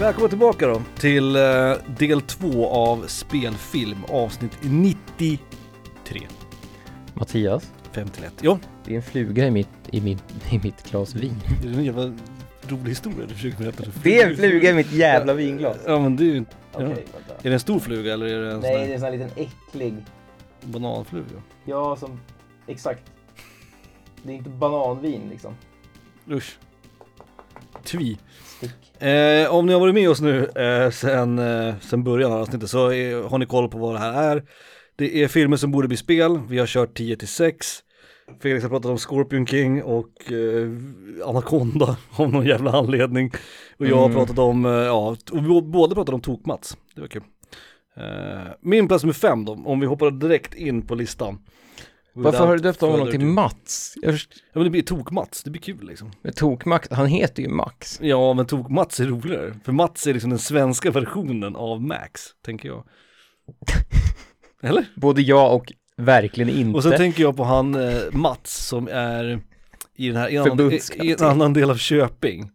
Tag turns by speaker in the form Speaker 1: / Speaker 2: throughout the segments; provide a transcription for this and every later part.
Speaker 1: välkomna tillbaka då till eh, del två av spelfilm avsnitt 93.
Speaker 2: Mattias,
Speaker 1: 51. Ja,
Speaker 2: det är en fluga i mitt, i mitt, i mitt glas vin.
Speaker 1: det är en jävla rolig historia du försöker berätta.
Speaker 2: Det är en fluga i mitt jävla vinglas.
Speaker 1: Ja men det är ju inte...
Speaker 2: Okej,
Speaker 1: Ja.
Speaker 2: vänta.
Speaker 1: Är det en stor fluga eller är det en sån
Speaker 2: Nej, det är
Speaker 1: här
Speaker 2: en sån här liten äcklig.
Speaker 1: bananfluga?
Speaker 2: Ja, som... Exakt. Det är inte bananvin liksom.
Speaker 1: Usch. Tvi.
Speaker 2: Stick.
Speaker 1: Eh, om ni har varit med oss nu eh, sen, eh, sen början av avsnittet så är, har ni koll på vad det här är. Det är filmer som borde bli spel, vi har kört 10 till 6. Felix har pratat om Scorpion King och eh, Anaconda av någon jävla anledning. Och jag har
Speaker 2: Mm.
Speaker 1: pratat om, eh, ja, t- och vi båda pratade om Tokmats. Det var kul. Eh, min plats nummer fem då, om vi hoppar direkt in på listan.
Speaker 2: Varför har du döpt om honom
Speaker 1: further
Speaker 2: till
Speaker 1: ado.
Speaker 2: Mats? Jag först-
Speaker 1: Ja men det blir Tok-Mats, det blir kul liksom.
Speaker 2: jag tog Max. Han heter ju Max.
Speaker 1: Ja, men tog Mats är roligare. För Mats är liksom den svenska versionen av Max, tänker jag. Eller?
Speaker 2: Både jag och verkligen inte.
Speaker 1: Och sen tänker jag på han eh, Mats som är i, den här, i, en annan, i,
Speaker 2: Förbundskapten.
Speaker 1: i en annan del av Köping.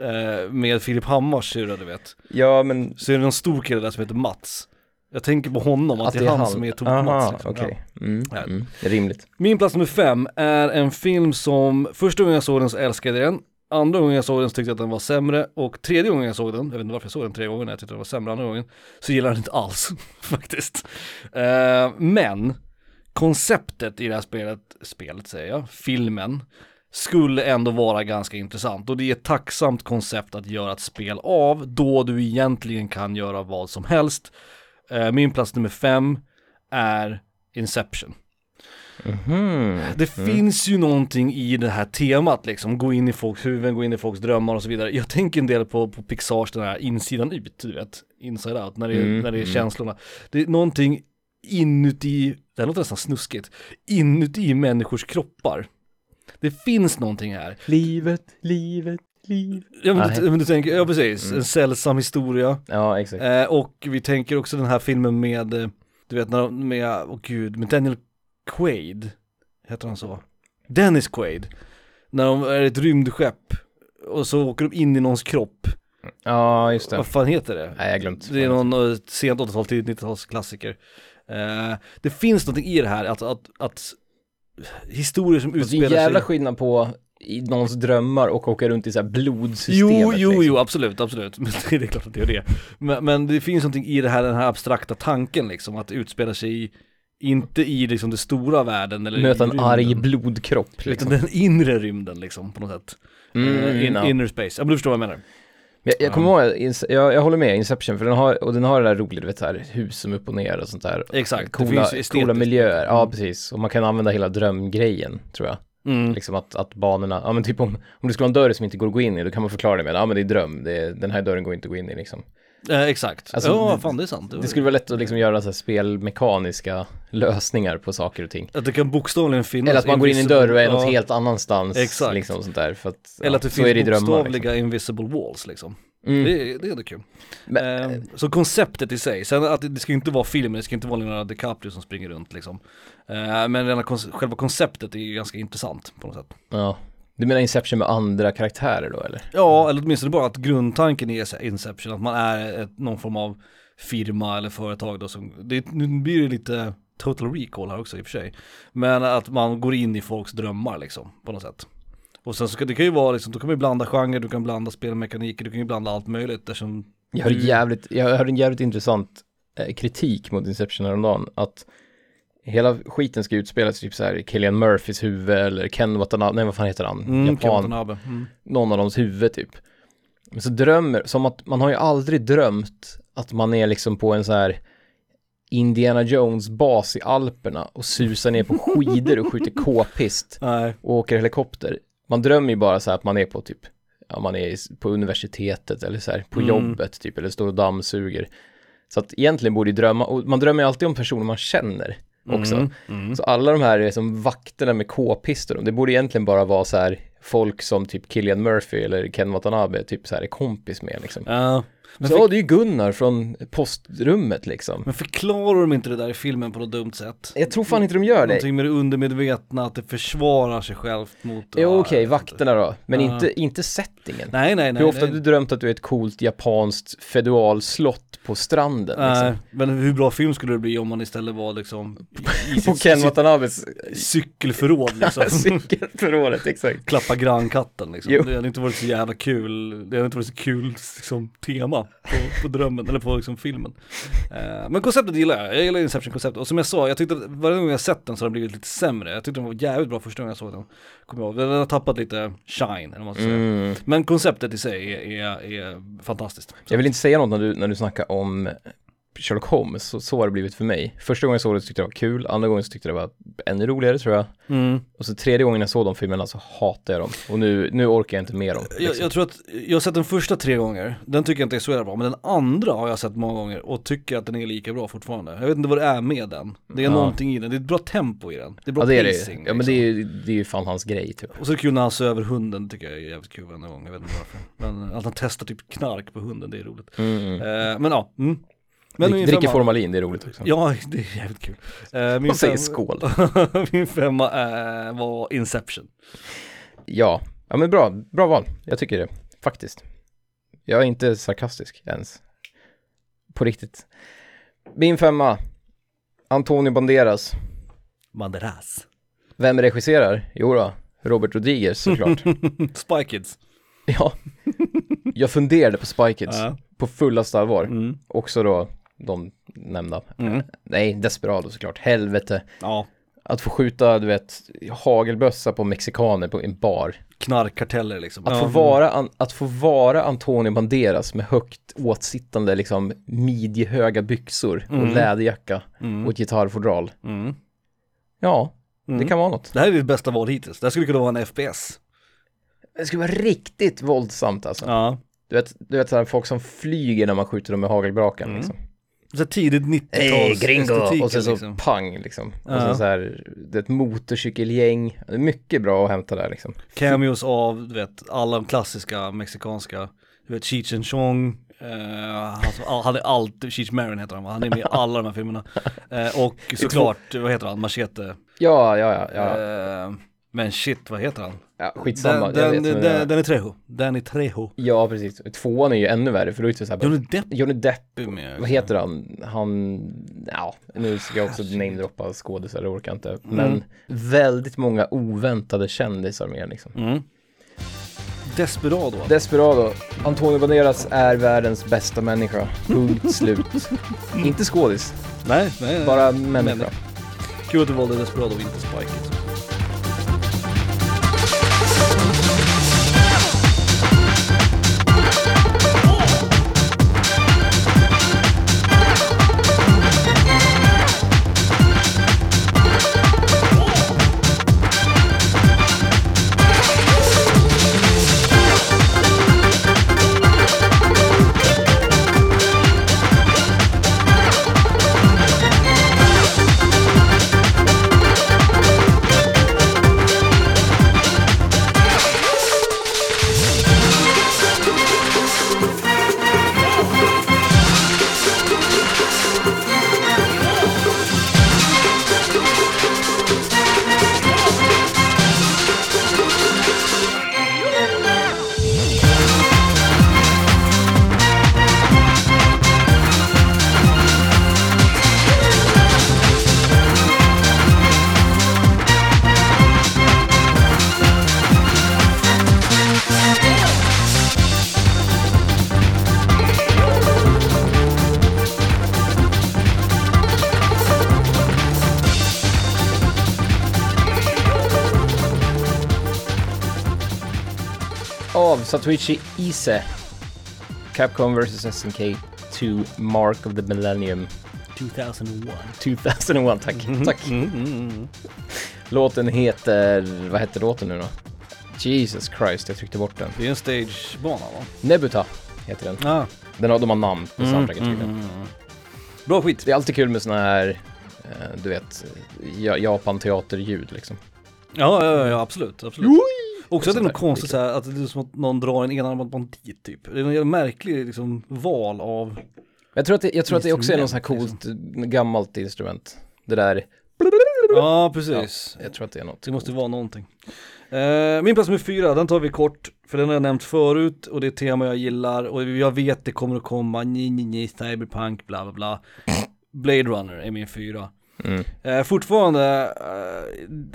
Speaker 1: Eh, med Filip Hammars syrra, du vet.
Speaker 2: Ja, men...
Speaker 1: Så är det någon stor kille där som heter Mats. Jag tänker på honom, att, det är han, som är tog Mats.
Speaker 2: Aha,
Speaker 1: Liksom.
Speaker 2: okej.
Speaker 1: Ja.
Speaker 2: Mm,
Speaker 1: Ja.
Speaker 2: mm. Det är rimligt.
Speaker 1: Min plats nummer fem är en film som första gången jag såg den så älskade jag den. Andra gången jag såg den så tyckte jag att den var sämre och tredje gången jag såg den, jag vet inte varför jag såg den tre gånger, jag tyckte den var sämre andra gången, så gillade jag den inte alls faktiskt. Eh, men konceptet i det här spelet, spelet säger jag, filmen, skulle ändå vara ganska intressant och det är ett tacksamt koncept att göra ett spel av då du egentligen kan göra vad som helst. Eh, min plats nummer fem är Inception.
Speaker 2: Mhm.
Speaker 1: Det finns ju någonting i det här temat liksom, gå in i folks huvuden, gå in i folks drömmar och så vidare. Jag tänker en del på, på Pixars den här insidan ut, du vet, inside out, när det, är-
Speaker 2: Mm,
Speaker 1: när det är
Speaker 2: mm.
Speaker 1: känslorna. Det är någonting inuti, det här låter nästan snuskigt, inuti människors kroppar. Det finns någonting här.
Speaker 2: Livet, livet, livet.
Speaker 1: Ja men, du,
Speaker 2: Nej.
Speaker 1: men du tänker, ja precis,
Speaker 2: Mm.
Speaker 1: en sällsam historia.
Speaker 2: Ja, exakt.
Speaker 1: Eh, och vi tänker också den här filmen med, eh, du vet, när de- med, åh gud, med Daniel Quaid, heter han så? Dennis Quaid, när de är ett rymdskepp och så åker de in i någons kropp,
Speaker 2: Ja, just det.
Speaker 1: vad fan heter det?
Speaker 2: Nej, jag har glömt.
Speaker 1: Det är någon eh, sent 80-tal, tidigt 90-tals klassiker. Eh, det finns någonting i det här, att, att, att historier som
Speaker 2: Och Det är
Speaker 1: utspelar
Speaker 2: en jävla
Speaker 1: sig...
Speaker 2: skillnad på i någons drömmar och åka runt i så här blodsystemet.
Speaker 1: Jo, jo,
Speaker 2: liksom.
Speaker 1: jo, absolut, absolut. Men det är klart att det är det. Men, men det finns någonting i det här, den här abstrakta tanken liksom, att det utspelar sig i, inte i liksom den stora världen eller
Speaker 2: Möta
Speaker 1: i
Speaker 2: en
Speaker 1: rymden,
Speaker 2: arg blodkropp.
Speaker 1: Utan
Speaker 2: Liksom.
Speaker 1: den inre rymden liksom, på något sätt.
Speaker 2: Mm,
Speaker 1: Eh, in,
Speaker 2: ja.
Speaker 1: Inner space, ja men du förstår vad jag menar.
Speaker 2: Men Jag, jag kommer ihåg, Ince- jag, jag håller med, Inception, för den har, och den har det där roliga, du vet, så här, hus som upp och ner och sånt där.
Speaker 1: Exakt, det Mm.
Speaker 2: Coola,
Speaker 1: finns ju estetiskt.
Speaker 2: coola miljöer, ja precis. Och man kan använda hela drömgrejen, tror jag.
Speaker 1: Mm.
Speaker 2: Liksom att, att banorna, ja men typ om, om det skulle vara en dörr som inte går att gå in i, då kan man förklara det med, ja men det är dröm, det är, den här dörren går inte att gå in i liksom.
Speaker 1: Eh, exakt,
Speaker 2: Alltså,
Speaker 1: ja
Speaker 2: det-
Speaker 1: fan det är sant.
Speaker 2: Det skulle vara lätt att liksom göra så här spelmekaniska lösningar på saker och ting.
Speaker 1: Att det kan bokstavligen finnas
Speaker 2: Eller att man går in i en
Speaker 1: invisible-
Speaker 2: dörr och är något
Speaker 1: ja,
Speaker 2: helt annanstans.
Speaker 1: Exakt.
Speaker 2: Liksom sånt där. För att,
Speaker 1: Eller att det
Speaker 2: ja, så är det i
Speaker 1: finns
Speaker 2: drömmar.
Speaker 1: bokstavliga
Speaker 2: Liksom.
Speaker 1: invisible walls liksom.
Speaker 2: Mm.
Speaker 1: Det, är- det är ändå kul.
Speaker 2: Men-
Speaker 1: Eh, så konceptet i sig, sen att det, det ska ju inte vara filmen, det ska inte vara Leonardo DiCaprio som springer runt liksom. Eh, men rena kon- själva konceptet är ju ganska intressant på något sätt.
Speaker 2: Ja. Du menar Inception med andra karaktärer då eller?
Speaker 1: Ja, Mm. eller åtminstone bara att grundtanken är så här Inception, att man är ett, någon form av firma eller företag då som, det, nu blir det lite total recall här också i och för sig. Men att man går in i folks drömmar liksom, på något sätt. Och sen så kan det kan ju vara liksom, du kan man ju blanda genrer, du kan blanda spelmekaniker, du kan ju blanda allt möjligt eftersom
Speaker 2: Jag hörde,
Speaker 1: Du-
Speaker 2: jävligt, jag hörde en jävligt intressant eh, kritik mot Inception häromdagen. Att hela skiten ska utspelas typ så här i Killian Murphys huvud eller Ken Watanabe, nej vad fan heter han?
Speaker 1: mm,
Speaker 2: Japan,
Speaker 1: Watanabe. Mm.
Speaker 2: någon av dems huvud typ. Men så drömmer, som att man har ju aldrig drömt att man är liksom på en så här Indiana Jones-bas i Alperna och susar ner på skidor och skjuter k-pist
Speaker 1: Nej.
Speaker 2: och åker helikopter. Man drömmer ju bara så här att man är på typ, ja man är i- på universitetet eller så här på
Speaker 1: Mm.
Speaker 2: jobbet typ eller står och dammsuger. Så att egentligen borde ju drömma, och man drömmer ju alltid om personer man känner också.
Speaker 1: Mm, mm.
Speaker 2: Så alla de här liksom vakterna med k-pistor, det borde egentligen bara vara så här folk som typ Killian Murphy eller Ken Watanabe typ så här är kompis med liksom.
Speaker 1: Ja, Men,
Speaker 2: så,
Speaker 1: för,
Speaker 2: ja, det är ju Gunnar från postrummet liksom.
Speaker 1: men förklarar de inte det där i filmen på något dumt sätt?
Speaker 2: Jag tror fan inte de gör det.
Speaker 1: Någonting med det undermedvetna, att det försvarar sig självt mot...
Speaker 2: Jo,
Speaker 1: Ja,
Speaker 2: okej,
Speaker 1: jag vet inte.
Speaker 2: vakterna då. Men
Speaker 1: Ja.
Speaker 2: inte, inte settingen.
Speaker 1: Ah. Nej, nej, nej.
Speaker 2: Hur ofta
Speaker 1: det-
Speaker 2: har du drömt att du är ett coolt japanskt feodalslott på stranden?
Speaker 1: Nej,
Speaker 2: Liksom?
Speaker 1: men hur bra film skulle det bli om man istället var liksom i
Speaker 2: På
Speaker 1: sitt
Speaker 2: Ken
Speaker 1: sitt
Speaker 2: Watanabes
Speaker 1: cykelförråd liksom.
Speaker 2: cykelförrådet, exakt.
Speaker 1: Klappa grannkatten liksom.
Speaker 2: Jo.
Speaker 1: Det hade inte varit så jävla kul, det hade inte varit så kul liksom, tema på, på drömmen, eller på liksom, filmen. Eh, men konceptet gillar jag, jag gillar Inception-konceptet. Och som jag sa, jag tyckte att varje gång jag sett den så har den blivit lite sämre. Jag tyckte den var jävligt bra första gången jag såg den. Kommer jag ihåg, den har tappat lite shine, eller vad man ska säga.
Speaker 2: Mm.
Speaker 1: Men konceptet i sig är, är, är fantastiskt.
Speaker 2: Jag vill inte säga något när du, när du snackar om Sherlock Holmes, så, så har det blivit för mig. Första gången jag såg det så tyckte jag det var kul, andra gången så tyckte jag det var ännu roligare tror jag.
Speaker 1: Mm.
Speaker 2: Och så tredje gången jag såg de filmerna så hatade jag dem. Och nu, nu orkar jag inte med dem.
Speaker 1: Jag,
Speaker 2: liksom.
Speaker 1: jag tror att, jag har sett den första tre gånger, den tycker jag inte är så jävla bra, men den andra har jag sett många gånger och tycker att den är lika bra fortfarande. Jag vet inte vad det är med den, det är
Speaker 2: Ja.
Speaker 1: någonting i den, det är ett bra tempo i den, det är bra
Speaker 2: ja, det är det.
Speaker 1: pacing. liksom.
Speaker 2: ju. Ja, men det är, ju- det är ju fan hans grej typ.
Speaker 1: Och så är det kul när han ser över hunden, tycker jag är jävligt kul varenda gång, jag vet inte varför. Men att han testar typ knark på hunden, det är roligt.
Speaker 2: Mm.
Speaker 1: Eh, men ja, mm.
Speaker 2: Men
Speaker 1: min
Speaker 2: dricker
Speaker 1: femma-
Speaker 2: formalin, det är roligt också.
Speaker 1: Ja, det är jävligt kul. Eh, min,
Speaker 2: Man säger
Speaker 1: fem-
Speaker 2: skål.
Speaker 1: min femma eh, var Inception.
Speaker 2: Ja, ja men bra, bra val. Jag tycker det, faktiskt. Jag är inte sarkastisk ens. På riktigt. Min femma, Antonio Banderas.
Speaker 1: Banderas.
Speaker 2: Vem regisserar? Jo då, Robert Rodriguez såklart.
Speaker 1: Spy Kids.
Speaker 2: ja. Jag funderade på Spy Kids,
Speaker 1: Ja.
Speaker 2: på fullaste allvar.
Speaker 1: Mm.
Speaker 2: Också då de nämnda.
Speaker 1: Mm.
Speaker 2: Nej, Desperado såklart, helvete.
Speaker 1: Ja,
Speaker 2: Att få skjuta, du vet, hagelbössa på mexikaner på en bar.
Speaker 1: knarkkarteller liksom.
Speaker 2: Att,
Speaker 1: ja.
Speaker 2: få
Speaker 1: men-
Speaker 2: vara, an- att få vara Antonio Banderas med högt åtsittande liksom midjehöga byxor och
Speaker 1: Mm.
Speaker 2: läderjacka
Speaker 1: Mm.
Speaker 2: och ett gitarrfodral.
Speaker 1: Mm.
Speaker 2: Ja,
Speaker 1: Mm.
Speaker 2: det kan vara något.
Speaker 1: Det här är ditt bästa val hittills. Det här skulle kunna vara en FPS.
Speaker 2: Det skulle vara riktigt våldsamt alltså.
Speaker 1: Ja.
Speaker 2: Du vet, du vet sådär, folk som flyger när man skjuter dem med hagelbraken
Speaker 1: Mm.
Speaker 2: liksom.
Speaker 1: Så här tidigt 90-tals estetiken,
Speaker 2: Och sen så
Speaker 1: liksom.
Speaker 2: pang liksom.
Speaker 1: Ja.
Speaker 2: Och sen så här, det är ett motorcykelgäng. Det är mycket bra att hämta där liksom.
Speaker 1: Cameos av, du vet, alla de klassiska mexikanska. Du vet, Cheech and Chong. eh, han, som- han är alltid, Cheech Marin heter han va? Han är med i alla de här filmerna. Eh, och såklart, vad heter han, Machete.
Speaker 2: Ja, ja, ja, ja.
Speaker 1: Eh, men shit, vad heter han?
Speaker 2: ja skitsamma.
Speaker 1: Den, den,
Speaker 2: jag vet,
Speaker 1: den,
Speaker 2: men-
Speaker 1: den, är Trejo. Den är Trejo.
Speaker 2: Ja, precis. Tvåan är ju ännu värre för då är det typ så här bara,
Speaker 1: Johnny Depp
Speaker 2: Johnny Depp
Speaker 1: är med.
Speaker 2: Vad heter han? Han, ja, nu ska jag också namedroppa skådisar, det orkar jag inte.
Speaker 1: Mm.
Speaker 2: Men väldigt många oväntade kändisar med liksom.
Speaker 1: Mm. Desperado.
Speaker 2: Desperado, Antonio Banderas är världens bästa människa. Punkt slut.
Speaker 1: Mm.
Speaker 2: Inte skådis,
Speaker 1: nej, nej, nej.
Speaker 2: bara människa.
Speaker 1: Kul att du valde Desperado och inte Spike. liksom. Kids.
Speaker 2: Av Satoichi Ise. Capcom vs SNK 2 Mark of the Millennium
Speaker 1: 2001.
Speaker 2: 2001, tack. Tack.
Speaker 1: Mm, mm, mm.
Speaker 2: Låten heter, vad heter låten nu då? Jesus Christ, jag tryckte bort den.
Speaker 1: Det är en stagebana va?
Speaker 2: Nebuta heter den.
Speaker 1: Ah.
Speaker 2: Den har, de har namn på soundtracket
Speaker 1: mm,
Speaker 2: tydligen.
Speaker 1: mm, mm. Bra skit.
Speaker 2: Det är alltid kul med såna här, eh, du vet, ja- Japan-teaterljud liksom.
Speaker 1: Ja, ja, ja absolut. absolut. Också att det är
Speaker 2: sånt
Speaker 1: något
Speaker 2: där.
Speaker 1: konstigt så här, att det är som att någon drar en enarmad bandit typ. Det är någon jävla märklig liksom, val av...
Speaker 2: Jag tror att det, jag tror att det också är något sånt här
Speaker 1: Instrument, liksom.
Speaker 2: coolt gammalt instrument. Det där,
Speaker 1: Ja, precis.
Speaker 2: jag tror att det är något.
Speaker 1: Det måste vara någonting. Eh, min plats nummer fyra, den tar vi kort, för den har jag nämnt förut och det är ett tema jag gillar och jag vet det kommer att komma, ni, ni, ni, cyberpunk, bla bla bla. Blade Runner är min fyra.
Speaker 2: Mm.
Speaker 1: Eh, fortfarande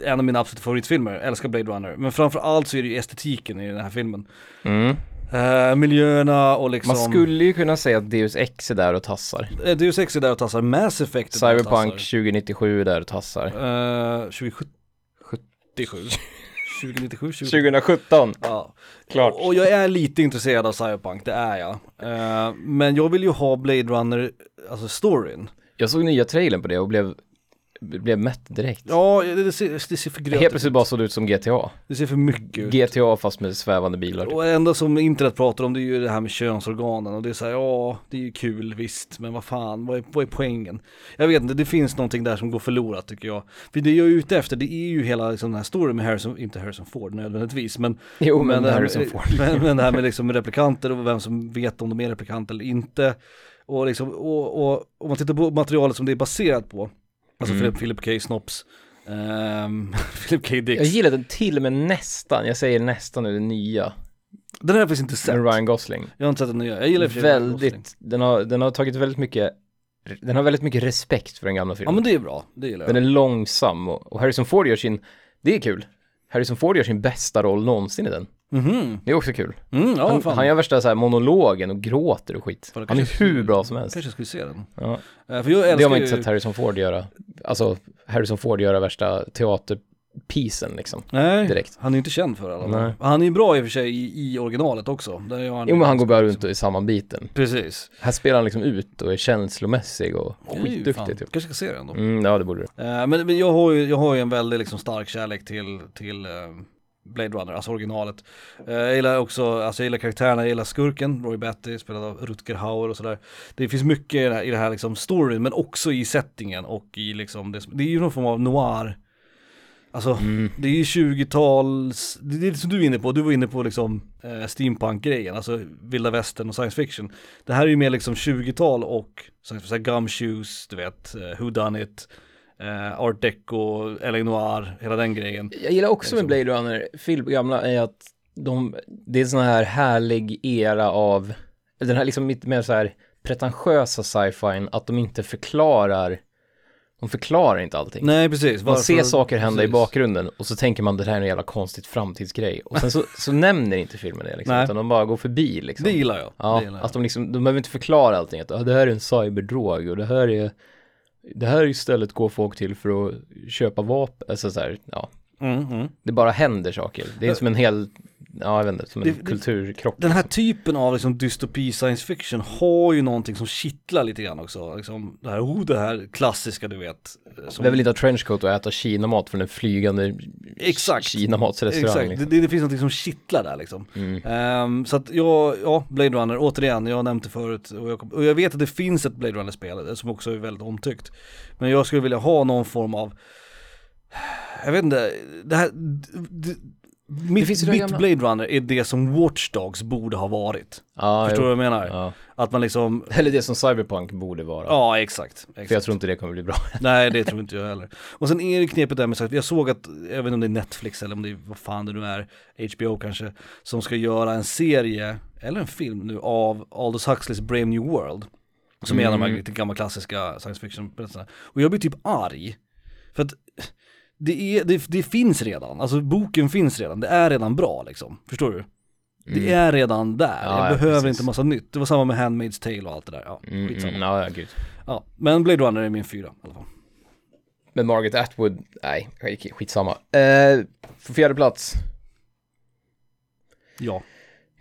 Speaker 1: eh, en av mina absoluta favoritfilmer, jag älskar Blade Runner, men framförallt så är det ju estetiken i den här filmen.
Speaker 2: Mm.
Speaker 1: Eh, miljöerna och liksom...
Speaker 2: Man skulle ju kunna säga att Deus Ex är där och tassar.
Speaker 1: Eh, Deus Ex är där och tassar, Mass Effect är där och
Speaker 2: Cyberpunk
Speaker 1: tassar.
Speaker 2: 2097 är där och tassar.
Speaker 1: Eh, 2077. 2097, 20...
Speaker 2: 2017,
Speaker 1: Ja.
Speaker 2: klart.
Speaker 1: Och jag är lite intresserad av Cyberpunk, det är jag. Eh, men jag vill ju ha Blade Runner, alltså storyn.
Speaker 2: Jag såg nya trailern på det och blev, blev mätt direkt.
Speaker 1: Ja, det, det, ser, det ser för
Speaker 2: Helt
Speaker 1: grötigt
Speaker 2: plötsligt
Speaker 1: ut.
Speaker 2: bara såg det ut som GTA.
Speaker 1: Det ser för mycket ut.
Speaker 2: GTA fast med svävande bilar. typ.
Speaker 1: Och det enda som internet pratar om det är ju det här med könsorganen och det är så här, ja det är ju kul visst men vad fan, vad är, vad är poängen? Jag vet inte, det finns någonting där som går förlorat tycker jag. För det jag är ute efter det är ju hela liksom, den här storyn med Harrison, inte Harrison Ford nödvändigtvis men
Speaker 2: Jo men,
Speaker 1: det här
Speaker 2: Harrison
Speaker 1: med,
Speaker 2: Ford.
Speaker 1: Men, men det här med liksom replikanter och vem som vet om de är replikanter eller inte. Och, liksom, och, och om man tittar på materialet som det är baserat på, alltså
Speaker 2: Mm.
Speaker 1: Philip, Philip K. Snops, ehm, Philip K.
Speaker 2: Jag
Speaker 1: Dix.
Speaker 2: gillade den till och med nästan, jag säger nästan nu, den nya.
Speaker 1: Den har jag faktiskt inte sett.
Speaker 2: Med Ryan Gosling.
Speaker 1: Jag har inte sett den nya. Jag gillar i och för sig Ryan Gosling.
Speaker 2: Väldigt, den har, den har tagit väldigt mycket, den har väldigt mycket respekt för den gamla
Speaker 1: Ja
Speaker 2: filmen.
Speaker 1: men det är bra, det gillar jag.
Speaker 2: Den är långsam och, och Harrison Ford gör sin, det är kul. Harrison Ford gör sin bästa roll någonsin i den.
Speaker 1: Mhm,
Speaker 2: Det är också kul.
Speaker 1: mm, ja
Speaker 2: han,
Speaker 1: fan.
Speaker 2: han gör värsta så här monologen och gråter och skit.
Speaker 1: Fan, det
Speaker 2: Han är
Speaker 1: kanske-
Speaker 2: hur bra som helst.
Speaker 1: Kanske jag skulle se den.
Speaker 2: Ja.
Speaker 1: Eh, för jag
Speaker 2: Det har
Speaker 1: älskar
Speaker 2: man
Speaker 1: ju,
Speaker 2: inte sett Harrison Ford göra. Alltså Harrison Ford göra värsta teaterpisen liksom.
Speaker 1: Nej,
Speaker 2: direkt.
Speaker 1: han är ju inte känd för det i alla fall.
Speaker 2: Nej.
Speaker 1: Han är ju bra i och för sig i, i originalet också. Där gör han
Speaker 2: Jo men han går bara runt och är sammanbiten.
Speaker 1: Precis.
Speaker 2: Här spelar han liksom ut och är känslomässig och
Speaker 1: Det är ju fan.
Speaker 2: skitduktig typ.
Speaker 1: Kanske ska se den då.
Speaker 2: Mm, ja det borde du.
Speaker 1: Eh, men men jag, har ju, jag har ju en väldigt liksom, stark kärlek till, till eh, Blade Runner, alltså originalet. Eh, jag gillar också, alltså jag gillar karaktärerna, jag gillar skurken, Roy Batty, spelad av Rutger Hauer och sådär. Det finns mycket i det här, i det här liksom, storyn, men också i settingen och i liksom, det, som- det är ju någon form av noir. Alltså, det är ju 20-tals, det det är det som du är inne på, du var inne på liksom eh, steampunk-grejen, alltså vilda västern och science fiction. Det här är ju mer liksom 20-tal och science fiction, gumshoes, du vet, eh, who done it, eh, art deco, LA Noir, hela den grejen.
Speaker 2: Jag gillar
Speaker 1: Liksom.
Speaker 2: också med Blade Runner-film, gamla, är att de, det är en sån här härlig era av, den här liksom lite mer så här pretentiösa sci-fin, att de inte förklarar, de förklarar inte allting.
Speaker 1: Nej, precis.
Speaker 2: Man
Speaker 1: Varför-
Speaker 2: ser saker hända i
Speaker 1: precis.
Speaker 2: bakgrunden och så tänker man det här är en jävla konstigt framtidsgrej. Och sen så, så nämner inte filmen det liksom,
Speaker 1: Nej.
Speaker 2: utan de bara går förbi liksom.
Speaker 1: Det gillar jag.
Speaker 2: Ja,
Speaker 1: det gillar jag.
Speaker 2: att de liksom, de behöver inte förklara allting, att ah, det här är en cyberdrog och det här är, det här är istället går folk till för att köpa vapen, alltså så här, ja.
Speaker 1: Mm, mm.
Speaker 2: Det bara händer saker. Det är som en hel, ja jag vet inte, som en
Speaker 1: Det- det-
Speaker 2: kulturkrock.
Speaker 1: Den här typen av liksom dystopi science fiction har ju någonting som kittlar lite grann också. Liksom det här, oh, det här klassiska du vet. eh, Som,
Speaker 2: Det är väl inte ha trenchcoat och äta kinamat från en flygande
Speaker 1: Exakt.
Speaker 2: kinamatsrestaurang.
Speaker 1: Exakt,
Speaker 2: Liksom.
Speaker 1: det, det finns någonting som kittlar där liksom.
Speaker 2: Mm.
Speaker 1: Ehm, så att jag, ja, Blade Runner, återigen, jag har nämnt det förut och jag, kom- och jag vet att det finns ett Blade Runner-spel eh, som också är väldigt omtyckt. Men jag skulle vilja ha någon form av, jag vet inte, det här, det, mitt,
Speaker 2: finns ju det
Speaker 1: mitt
Speaker 2: gamla-
Speaker 1: Blade Runner är det som Watch Dogs borde ha varit.
Speaker 2: Ja,
Speaker 1: Förstår du
Speaker 2: jo.
Speaker 1: vad jag menar?
Speaker 2: ja.
Speaker 1: Att man liksom,
Speaker 2: Eller det som Cyberpunk borde vara.
Speaker 1: ja exakt. exakt.
Speaker 2: För jag tror inte det kommer bli bra.
Speaker 1: Nej det tror inte jag heller. Och sen är det knepet där med, så att jag såg att, jag vet inte om det är Netflix eller om det är, vad fan det nu är, HBO kanske, som ska göra en serie, eller en film nu, av Aldous Huxleys Brave New World. Som är en av de här
Speaker 2: Mm.
Speaker 1: riktigt gamla klassiska science fiction-berättelserna. Och jag blir typ arg. För att det, är, det, det finns redan, alltså boken finns redan, det är redan bra liksom. Förstår du? Det är redan där,
Speaker 2: Mm. Ja,
Speaker 1: jag
Speaker 2: ja,
Speaker 1: behöver
Speaker 2: precis.
Speaker 1: inte massa nytt. Det var samma med Handmaid's Tale och allt det där. Ja,
Speaker 2: Mm,
Speaker 1: skitsamma.
Speaker 2: mm, ja, ja, gud.
Speaker 1: ja. Men Blade Runner är min fyra i alla fall.
Speaker 2: Men Margaret Atwood, nej, skit- skitsamma. Eh, på fjärde plats.
Speaker 1: Ja.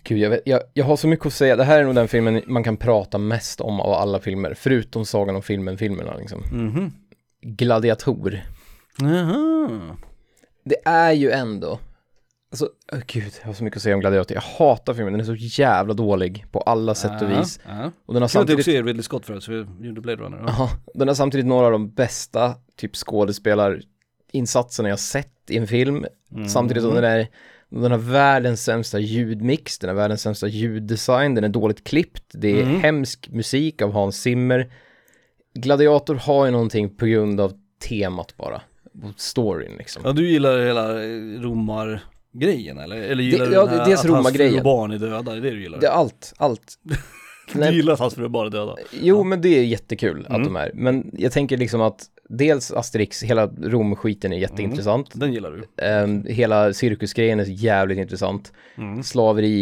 Speaker 2: Gud, jag, vet, jag, jag har så mycket att säga. Det här är nog den filmen man kan prata mest om av alla filmer, förutom Sagan om filmen-filmerna liksom.
Speaker 1: Mhm.
Speaker 2: Gladiator.
Speaker 1: Jaha.
Speaker 2: det är ju ändå, alltså, åh gud, jag har så mycket att säga om Gladiator. Jag hatar filmen, den är så jävla dålig på alla sätt och vis.
Speaker 1: Ja.
Speaker 2: Och den har
Speaker 1: Kul att det
Speaker 2: samtidigt,
Speaker 1: också är Ridley Scott förut, så vi gjorde Blade Runner. Ja.
Speaker 2: ja, den har samtidigt några av de bästa
Speaker 1: Mm.
Speaker 2: typ skådespelarinsatserna jag sett i en film. Samtidigt som den är Den har världens sämsta ljudmix, den har världens sämsta ljuddesign, den är dåligt klippt, det är
Speaker 1: Mm.
Speaker 2: hemsk musik av Hans Zimmer. Gladiator har ju någonting på grund av temat bara, och storyn liksom.
Speaker 1: Ja, du gillar hela eh, romargrejen eller? Eller gillar
Speaker 2: Det-
Speaker 1: du
Speaker 2: ja,
Speaker 1: den här
Speaker 2: dels
Speaker 1: att hans fru
Speaker 2: romargrejen.
Speaker 1: och barn är döda? Är det du gillar?
Speaker 2: Det är allt, allt.
Speaker 1: Du
Speaker 2: Nej,
Speaker 1: gillar att hans fru och barn är döda?
Speaker 2: jo, men det är jättekul att
Speaker 1: Mm.
Speaker 2: de är, men jag tänker liksom att dels Asterix, hela Rom-skiten är jätteintressant.
Speaker 1: Den gillar du?
Speaker 2: Ehm, hela cirkusgrejen är jävligt intressant.
Speaker 1: Mm.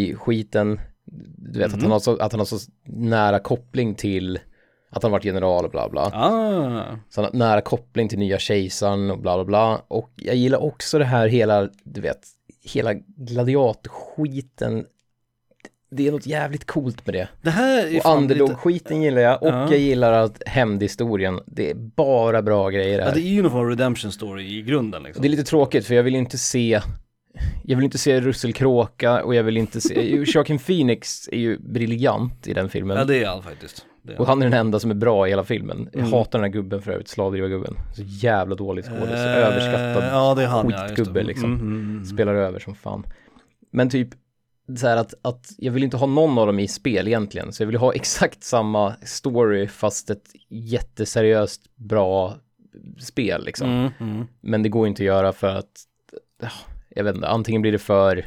Speaker 2: Slaveri-skiten, du vet att, han har så, att han har så nära koppling till att han varit general och bla bla.
Speaker 1: Ah,
Speaker 2: Så han har nära koppling till nya kejsaren och bla bla bla. Och jag gillar också det här hela, du vet, hela gladiatskiten. Det är något jävligt coolt med det.
Speaker 1: det här är
Speaker 2: Och
Speaker 1: fan lite...
Speaker 2: underdog-skiten gillar jag och
Speaker 1: Ja.
Speaker 2: jag gillar att hämndhistorien, det är bara bra grejer
Speaker 1: Ja,
Speaker 2: här.
Speaker 1: det är ju någon form av redemption story i grunden
Speaker 2: Och
Speaker 1: liksom.
Speaker 2: det är lite tråkigt för jag vill ju inte se jag vill inte se russelkråka och jag vill inte se... Joaquin Phoenix är ju briljant i den filmen.
Speaker 1: Ja, det är allt faktiskt. Det är
Speaker 2: Och
Speaker 1: allt.
Speaker 2: han är den enda som är bra i hela filmen. Jag
Speaker 1: Mm.
Speaker 2: hatar den här gubben för övrigt, slavdrivargubben. Så jävla dålig skådis,
Speaker 1: Eh,
Speaker 2: överskattad,
Speaker 1: ja, det är han, ja, just det.
Speaker 2: skitgubbe, liksom.
Speaker 1: Mm, mm, mm.
Speaker 2: spelar över som fan. Men typ, så här att, att jag vill inte ha någon av dem i spel egentligen, så jag vill ha exakt samma story fast ett jätteseriöst bra spel liksom.
Speaker 1: Mm, mm.
Speaker 2: Men det går inte att göra för att, ja, jag vet inte, antingen blir det för,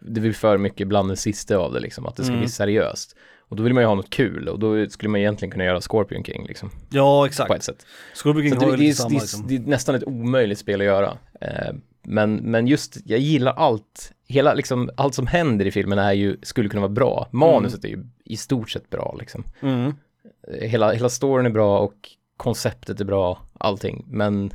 Speaker 2: det blir för mycket bland det sista av det liksom, att det ska
Speaker 1: Mm.
Speaker 2: bli seriöst. Och då vill man ju ha något kul och då skulle man egentligen kunna göra Scorpion King liksom,
Speaker 1: Ja,
Speaker 2: på
Speaker 1: exakt.
Speaker 2: ett sätt.
Speaker 1: Scorpion
Speaker 2: Så
Speaker 1: King
Speaker 2: att det,
Speaker 1: har
Speaker 2: det,
Speaker 1: ju
Speaker 2: är,
Speaker 1: lite samma
Speaker 2: det, är,
Speaker 1: liksom.
Speaker 2: det är nästan ett omöjligt spel att göra. Eh, men, men just, jag gillar allt, hela liksom, allt som händer i filmen är ju, skulle kunna vara bra. Manuset är ju i stort sett bra liksom.
Speaker 1: Mm.
Speaker 2: Eh, Hela, hela storyn är bra och konceptet är bra, allting. Men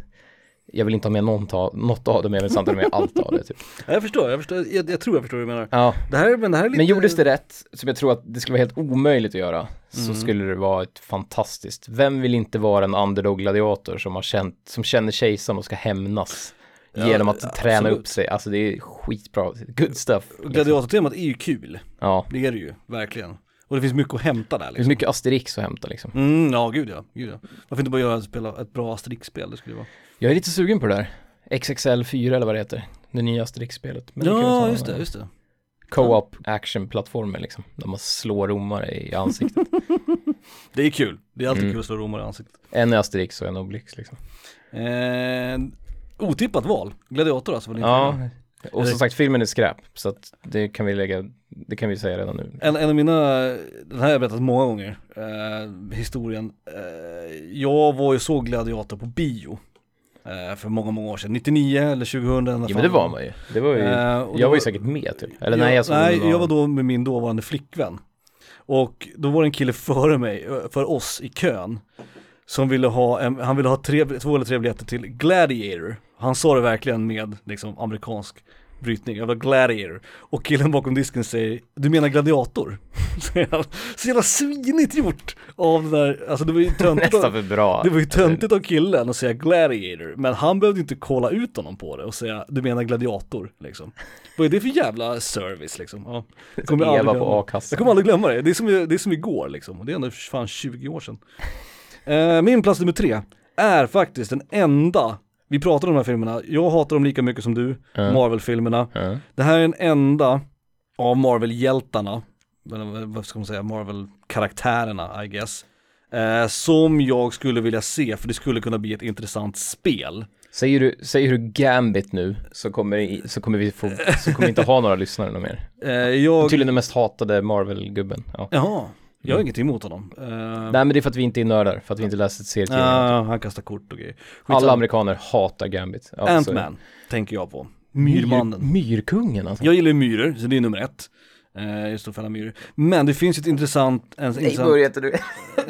Speaker 2: jag vill inte ha med någon ta, något av det, men jag vill samtidigt ha med allt av det. Typ.
Speaker 1: Ja, jag förstår, jag, förstår jag, jag tror jag förstår vad du menar.
Speaker 2: Ja.
Speaker 1: Det här, men det här är lite...
Speaker 2: Men gjordes det rätt, som jag tror att det skulle vara helt omöjligt att göra,
Speaker 1: Mm.
Speaker 2: så skulle det vara ett fantastiskt. Vem vill inte vara en underdog-gladiator som, har känt, som känner kejsaren och ska hämnas
Speaker 1: Ja,
Speaker 2: genom att
Speaker 1: ja,
Speaker 2: träna
Speaker 1: absolut.
Speaker 2: upp sig? Alltså det är skitbra, good stuff.
Speaker 1: Gladiatortemat är ju kul,
Speaker 2: Ja,
Speaker 1: det är det ju, verkligen. Och det finns mycket att hämta där
Speaker 2: det är
Speaker 1: liksom.
Speaker 2: mycket Asterix att hämta liksom.
Speaker 1: Mm, ja, gud ja, gud ja. Varför inte bara göra ett, spela, ett bra Asterix-spel, det skulle ju vara.
Speaker 2: Jag är lite sugen på det där. XXL4 eller vad det heter, det nya Asterix-spelet. Men kan vi ta en
Speaker 1: ja,
Speaker 2: annan
Speaker 1: just det,
Speaker 2: gång.
Speaker 1: just det.
Speaker 2: co-op action-plattformer liksom, där man slår romare i ansiktet.
Speaker 1: Det är kul, det är alltid
Speaker 2: Mm.
Speaker 1: kul att slå romare i ansiktet.
Speaker 2: en är Asterix och en Obelix liksom.
Speaker 1: Eh, otippat val, gladiator alltså. Var ja.
Speaker 2: Ja, och som sagt filmen är skräp, så att det kan vi lägga, det kan vi säga redan nu.
Speaker 1: en, en av mina, den här har jag berättat många gånger, eh, historien. Eh, jag var ju såg gladiator på bio eh, för många, många år sedan, 99 eller 2000.
Speaker 2: Ja men det var man ju. Det var ju,
Speaker 1: Eh, och då
Speaker 2: jag var
Speaker 1: var-
Speaker 2: ju säkert med typ. Eller
Speaker 1: jag,
Speaker 2: nej, jag såg
Speaker 1: nej,
Speaker 2: den någon
Speaker 1: jag var
Speaker 2: annan.
Speaker 1: då med min dåvarande flickvän. Och då var det en kille före mig, ö, för oss i kön, som ville ha, en, han ville ha tre, två eller tre biljetter till Gladiator. Han sa det verkligen med liksom amerikansk brytning, jag vill ha Gladiator. Och killen bakom disken säger, du menar gladiator? Säger han. Så jävla svinigt gjort av den där, alltså det var ju töntigt. av-
Speaker 2: Nästan för bra.
Speaker 1: det var ju töntigt av killen att säga gladiator, men han behövde inte kolla ut honom på det och säga du menar gladiator liksom. Vad är det för jävla service liksom? Ja. Jag kommer aldrig
Speaker 2: Eva
Speaker 1: glömma.
Speaker 2: på
Speaker 1: Jag
Speaker 2: a-kassan.
Speaker 1: kommer aldrig glömma det, det är som, det är som igår liksom, och det är ändå fan 20 år sedan. Eh, min plats nummer tre är faktiskt den enda, vi pratar om de här filmerna, jag hatar dem lika mycket som du,
Speaker 2: Mm.
Speaker 1: Marvel-filmerna.
Speaker 2: Ja.
Speaker 1: Det här är den enda av Marvel-hjältarna, eller vad ska man säga, Marvel-karaktärerna I guess, eh, som jag skulle vilja se för det skulle kunna bli ett intressant spel.
Speaker 2: Säger, du, säger du Gambit nu så kommer, i- så kommer vi få, så kommer vi inte ha några lyssnare någon mer.
Speaker 1: Eh, jag...
Speaker 2: Tydligen den mest hatade Marvel-gubben. Ja.
Speaker 1: Jaha, jag
Speaker 2: Mm.
Speaker 1: har ingenting emot honom. Eh,
Speaker 2: Nej men det är för att vi inte är nördar, för att vi inte läser serietidningar.
Speaker 1: ah, han kastar kort och grejer.
Speaker 2: Alla alltså.
Speaker 1: Skitsamma.
Speaker 2: amerikaner hatar Gambit. Ja, så-
Speaker 1: Ant-Man tänker jag på. Myrmannen.
Speaker 2: Myr, myrkungen alltså.
Speaker 1: Jag gillar ju myror, så det är nummer ett. Eh, just att fälla myror. Men det finns ju ett intressant... En, intressant...
Speaker 2: heter du.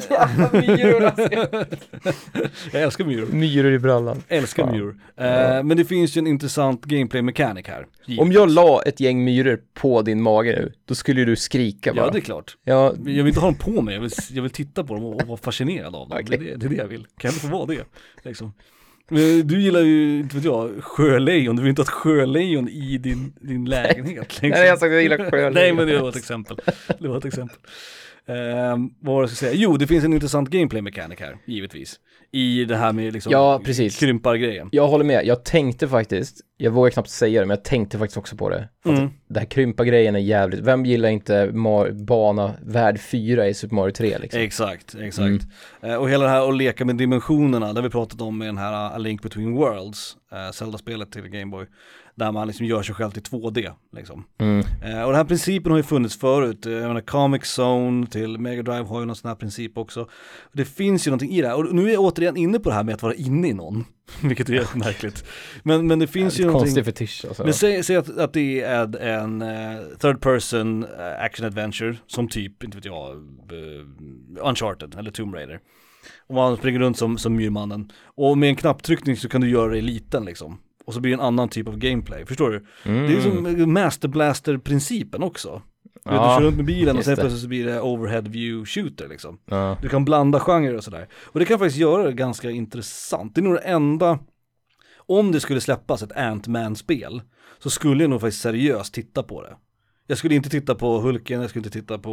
Speaker 2: Jävla myror alltså.
Speaker 1: Jag älskar myror.
Speaker 2: Myror i brallan.
Speaker 1: Älskar
Speaker 2: Fan.
Speaker 1: myror. Eh, men det finns ju en intressant gameplay mechanic här.
Speaker 2: Om jag la ett gäng myror på din mage nu, då skulle du skrika bara.
Speaker 1: Ja, det är klart.
Speaker 2: Ja,
Speaker 1: Men Jag vill inte ha dem på mig, jag vill, jag vill titta på dem och, och vara fascinerad av dem.
Speaker 2: Okej.
Speaker 1: Det, är det, det är det jag vill. Kan jag inte få vara det? Liksom. Men Du gillar ju, inte vet jag, sjölejon. Du vill inte ha ett sjölejon i din, din lägenhet. Liksom.
Speaker 2: Nej, jag sa att jag gillar sjölejon.
Speaker 1: Nej, men det var ett exempel. Det var ett exempel. Ehm, vad var det jag skulle säga? Jo, det finns en intressant gameplay mechanic här, givetvis. I det här med liksom
Speaker 2: Ja, precis.
Speaker 1: krympargrejen.
Speaker 2: jag håller med. Jag tänkte faktiskt, jag vågar knappt säga det, men jag tänkte faktiskt också på det. För att
Speaker 1: Mm.
Speaker 2: Det här krympa grejen är jävligt, vem gillar inte Mar- bana värld 4 i Super Mario 3 liksom?
Speaker 1: Exakt, exakt.
Speaker 2: Mm.
Speaker 1: Eh, och hela det här att leka med dimensionerna, det har vi pratat om i den här eh, A Link Between Worlds, eh, Zelda-spelet till Gameboy, där man liksom gör sig själv till 2D liksom.
Speaker 2: Mm.
Speaker 1: Eh, och den här principen har ju funnits förut, eh, jag menar Comic Zone till Mega Drive har ju någon sån här princip också. Det finns ju någonting i det här, och nu är jag återigen inne på det här med att vara inne i någon, vilket är jättemärkligt. Men, men det finns ju
Speaker 2: Lite
Speaker 1: någonting...
Speaker 2: konstig fetisch alltså.
Speaker 1: Men säg, säg att, att det är en eh, third person eh, action adventure som typ, inte vet jag, eh, Uncharted eller Tomb Raider. Och man springer runt som, som myrmannen. Och med en knapptryckning så kan du göra dig liten liksom. Och så blir det en annan typ av gameplay, förstår du?
Speaker 2: Mm.
Speaker 1: Det är ju som Master Blaster-principen också. Du vet,
Speaker 2: Ja,
Speaker 1: Du kör runt med bilen och
Speaker 2: just
Speaker 1: sen
Speaker 2: det.
Speaker 1: plötsligt så blir det overhead view shooter liksom.
Speaker 2: ja.
Speaker 1: Du kan blanda genrer och sådär. Och det kan faktiskt göra det ganska intressant. Det är nog det enda, om det skulle släppas ett Ant-Man-spel, så skulle jag nog faktiskt seriöst titta på det. Jag skulle inte titta på Hulken, jag skulle inte titta på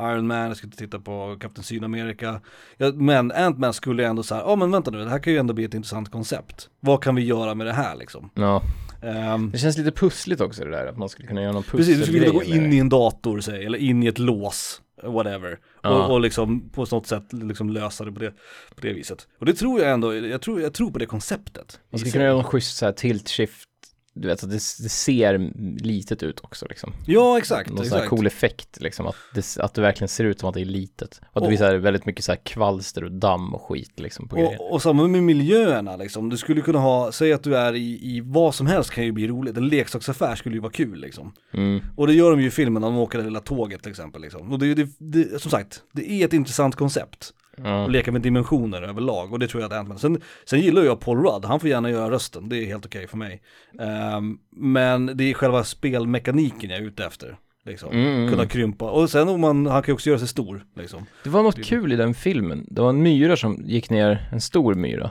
Speaker 1: Iron Man, jag skulle inte titta på Captain Sydamerika. Jag, men Ant-Man skulle jag ändå så här, ja men vänta nu, det här kan ju ändå bli ett intressant koncept. Vad kan vi göra med det här liksom?
Speaker 2: ja.
Speaker 1: Ehm,
Speaker 2: Det känns lite pussligt också det där, att man skulle kunna göra någon
Speaker 1: Precis, du skulle vilja gå
Speaker 2: pusselgrej med
Speaker 1: in
Speaker 2: det.
Speaker 1: i en dator säg, eller in i ett lås, whatever.
Speaker 2: Ja.
Speaker 1: Och, och liksom på något sätt liksom lösa det på, det på det viset. Och det tror jag ändå, jag tror, jag tror på det konceptet.
Speaker 2: Man skulle kunna göra någon schysst så här tilt shift, du vet, så att det, det ser litet ut också liksom.
Speaker 1: Ja, exakt.
Speaker 2: Någon sån här
Speaker 1: exakt.
Speaker 2: cool effekt liksom, att det, att det verkligen ser ut som att det är litet. Och att det blir
Speaker 1: Och-
Speaker 2: så här väldigt mycket så här kvalster och damm och skit liksom på grejen.
Speaker 1: Och, och samma med miljöerna liksom. Du skulle kunna ha, säg att du är i, i vad som helst kan ju bli roligt. En leksaksaffär skulle ju vara kul liksom.
Speaker 2: Mm.
Speaker 1: Och det gör de ju i filmen, de åker det lilla tåget till exempel liksom. Och det, är ju- det, det, som sagt, det är ett intressant koncept.
Speaker 2: Ja.
Speaker 1: och leka med dimensioner överlag och det tror jag att Ant-Man, sen, sen gillar jag Paul Rudd, han får gärna göra rösten, det är helt okej för mig. Ehm, men det är själva spelmekaniken jag är ute efter. Liksom.
Speaker 2: Mm.
Speaker 1: Kunna krympa, och sen om man, han kan ju också göra sig stor. Liksom.
Speaker 2: Det var något kul i den filmen. Det var en myra som gick ner, en stor myra.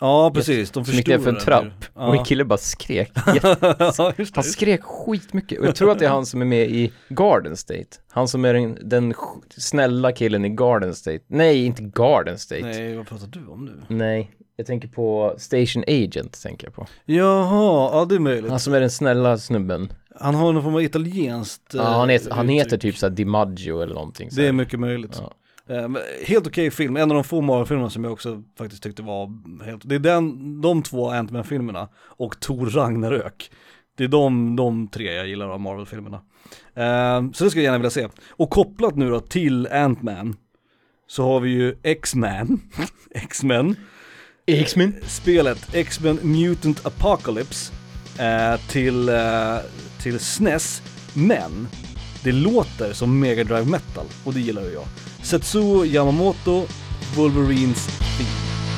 Speaker 1: Ja precis, de
Speaker 2: Som gick ner
Speaker 1: förstorar
Speaker 2: för en
Speaker 1: den.
Speaker 2: trapp. Och en
Speaker 1: Ja.
Speaker 2: kille bara skrek. Jätte-
Speaker 1: ja, just
Speaker 2: Han
Speaker 1: det.
Speaker 2: skrek skitmycket. Och jag tror att det är han som är med i Garden State. Han som är den, den sj- snälla killen i Garden State. Nej, inte Garden State. Nej.
Speaker 1: Nej, vad pratar du om nu?
Speaker 2: Jag tänker på Station Agent, tänker jag på.
Speaker 1: Jaha, ja det är möjligt.
Speaker 2: Han som är den snälla snubben.
Speaker 1: Han har någon form av italienskt
Speaker 2: Ja, han, heter,
Speaker 1: eh,
Speaker 2: han heter
Speaker 1: uttryck.
Speaker 2: typ såhär DiMaggio eller någonting. Så
Speaker 1: Det är
Speaker 2: här.
Speaker 1: mycket möjligt.
Speaker 2: Ja.
Speaker 1: Eh, men helt okej film, en av de få Marvel-filmerna som jag också faktiskt tyckte var helt, det är den, de två Ant-Man-filmerna och Thor Ragnarök. Det är de, de tre jag gillar av Marvel-filmerna. Eh, så det skulle jag gärna vilja se. Och kopplat nu då till Ant-Man så har vi ju X-Man, X-Men,
Speaker 2: X-Men.
Speaker 1: spelet X-Men Mutant Apocalypse eh, till, eh, till SNES, men det låter som Mega Drive Metal och det gillar ju jag. Setsuo Yamamoto, Wolverines theme.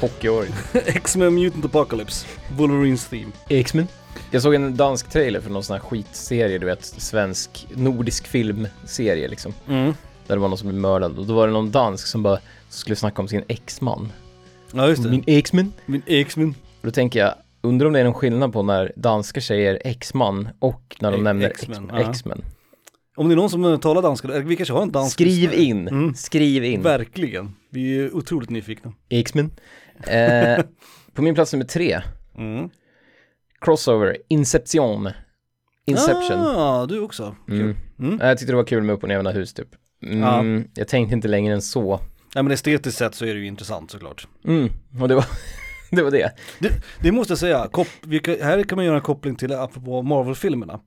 Speaker 2: Hockeyår.
Speaker 1: X-Men Mutant Apocalypse, Wolverines theme.
Speaker 2: X-Men. Jag såg en dansk trailer för någon sån här skitserie, du vet, svensk, nordisk filmserie liksom.
Speaker 1: Mm.
Speaker 2: Där det var någon som blev mördad och då var det någon dansk som bara skulle snacka om sin ex-man.
Speaker 1: Ja just det,
Speaker 2: Min
Speaker 1: min,
Speaker 2: ex-man.
Speaker 1: X-Men.
Speaker 2: Och då tänker jag, undrar om det är någon skillnad på när danska säger ex-man och när de
Speaker 1: Ex-
Speaker 2: nämner
Speaker 1: ex-man,
Speaker 2: ex-man.
Speaker 1: E- ja.
Speaker 2: ex-man.
Speaker 1: Om det är någon som eh, talar danska, eller vi kanske har en dansk
Speaker 2: Skriv
Speaker 1: lyssnare.
Speaker 2: in,
Speaker 1: Mm.
Speaker 2: skriv in.
Speaker 1: Verkligen. Vi är otroligt nyfikna.
Speaker 2: X-Men. Eh, på min plats nummer tre,
Speaker 1: Mm.
Speaker 2: Crossover, Inception. Inception.
Speaker 1: Ah, du också. Kul.
Speaker 2: Mm.
Speaker 1: Mm.
Speaker 2: Jag tyckte det var kul med upp och nervända hus typ. Mm, Jag tänkte inte längre än så.
Speaker 1: Nej men estetiskt sett så är det ju intressant såklart.
Speaker 2: Mm. Och det var det. Var det.
Speaker 1: Det, det måste jag säga, kop, vi kan, här kan man göra en koppling till, apropå Marvel-filmerna.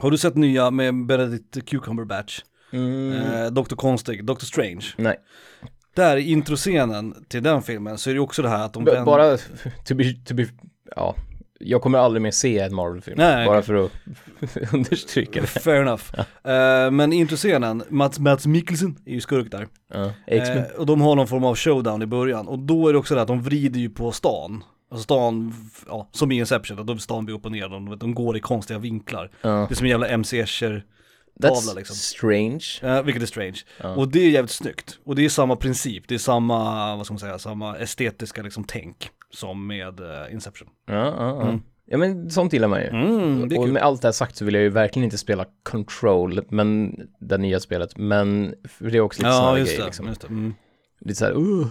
Speaker 1: Har du sett nya med Benedict Cucumberbatch?
Speaker 2: Mm.
Speaker 1: Eh, Dr. Konstig, Dr. Strange.
Speaker 2: Nej,
Speaker 1: Där i introscenen till den filmen så är det ju också det här att de
Speaker 2: B-
Speaker 1: vänder-
Speaker 2: bara to be, to be, ja. Jag kommer aldrig mer se en Marvel-film,
Speaker 1: Nej,
Speaker 2: bara för att understryka det.
Speaker 1: Fair enough. Eh, men i introscenen, Mats, Mats Mikkelsen är ju skurk där.
Speaker 2: Ja. X-Men.
Speaker 1: Eh, och de har någon form av showdown i början. Och då är det också det att de vrider ju på stan. Alltså stan, f- ja, som i Inception, att de stan blir upp och ner, de, de går i konstiga vinklar.
Speaker 2: Ja.
Speaker 1: Det är som en jävla MC Escher,
Speaker 2: That's
Speaker 1: tavla, liksom.
Speaker 2: strange.
Speaker 1: eh, vilket är strange.
Speaker 2: Ja.
Speaker 1: Och det är jävligt snyggt. Och det är samma princip, det är samma, vad ska man säga, samma estetiska liksom tänk som med eh, Inception.
Speaker 2: Ja, ja, ja.
Speaker 1: Mm.
Speaker 2: ja, men sånt gillar man ju.
Speaker 1: Mm, det är
Speaker 2: och
Speaker 1: kul.
Speaker 2: med allt det här sagt så vill jag ju verkligen inte spela Control, men det nya spelet, men för det är också lite såna
Speaker 1: Ja,
Speaker 2: här
Speaker 1: just
Speaker 2: grejer
Speaker 1: det.
Speaker 2: liksom.
Speaker 1: Just det. Mm.
Speaker 2: Lite såhär, uh,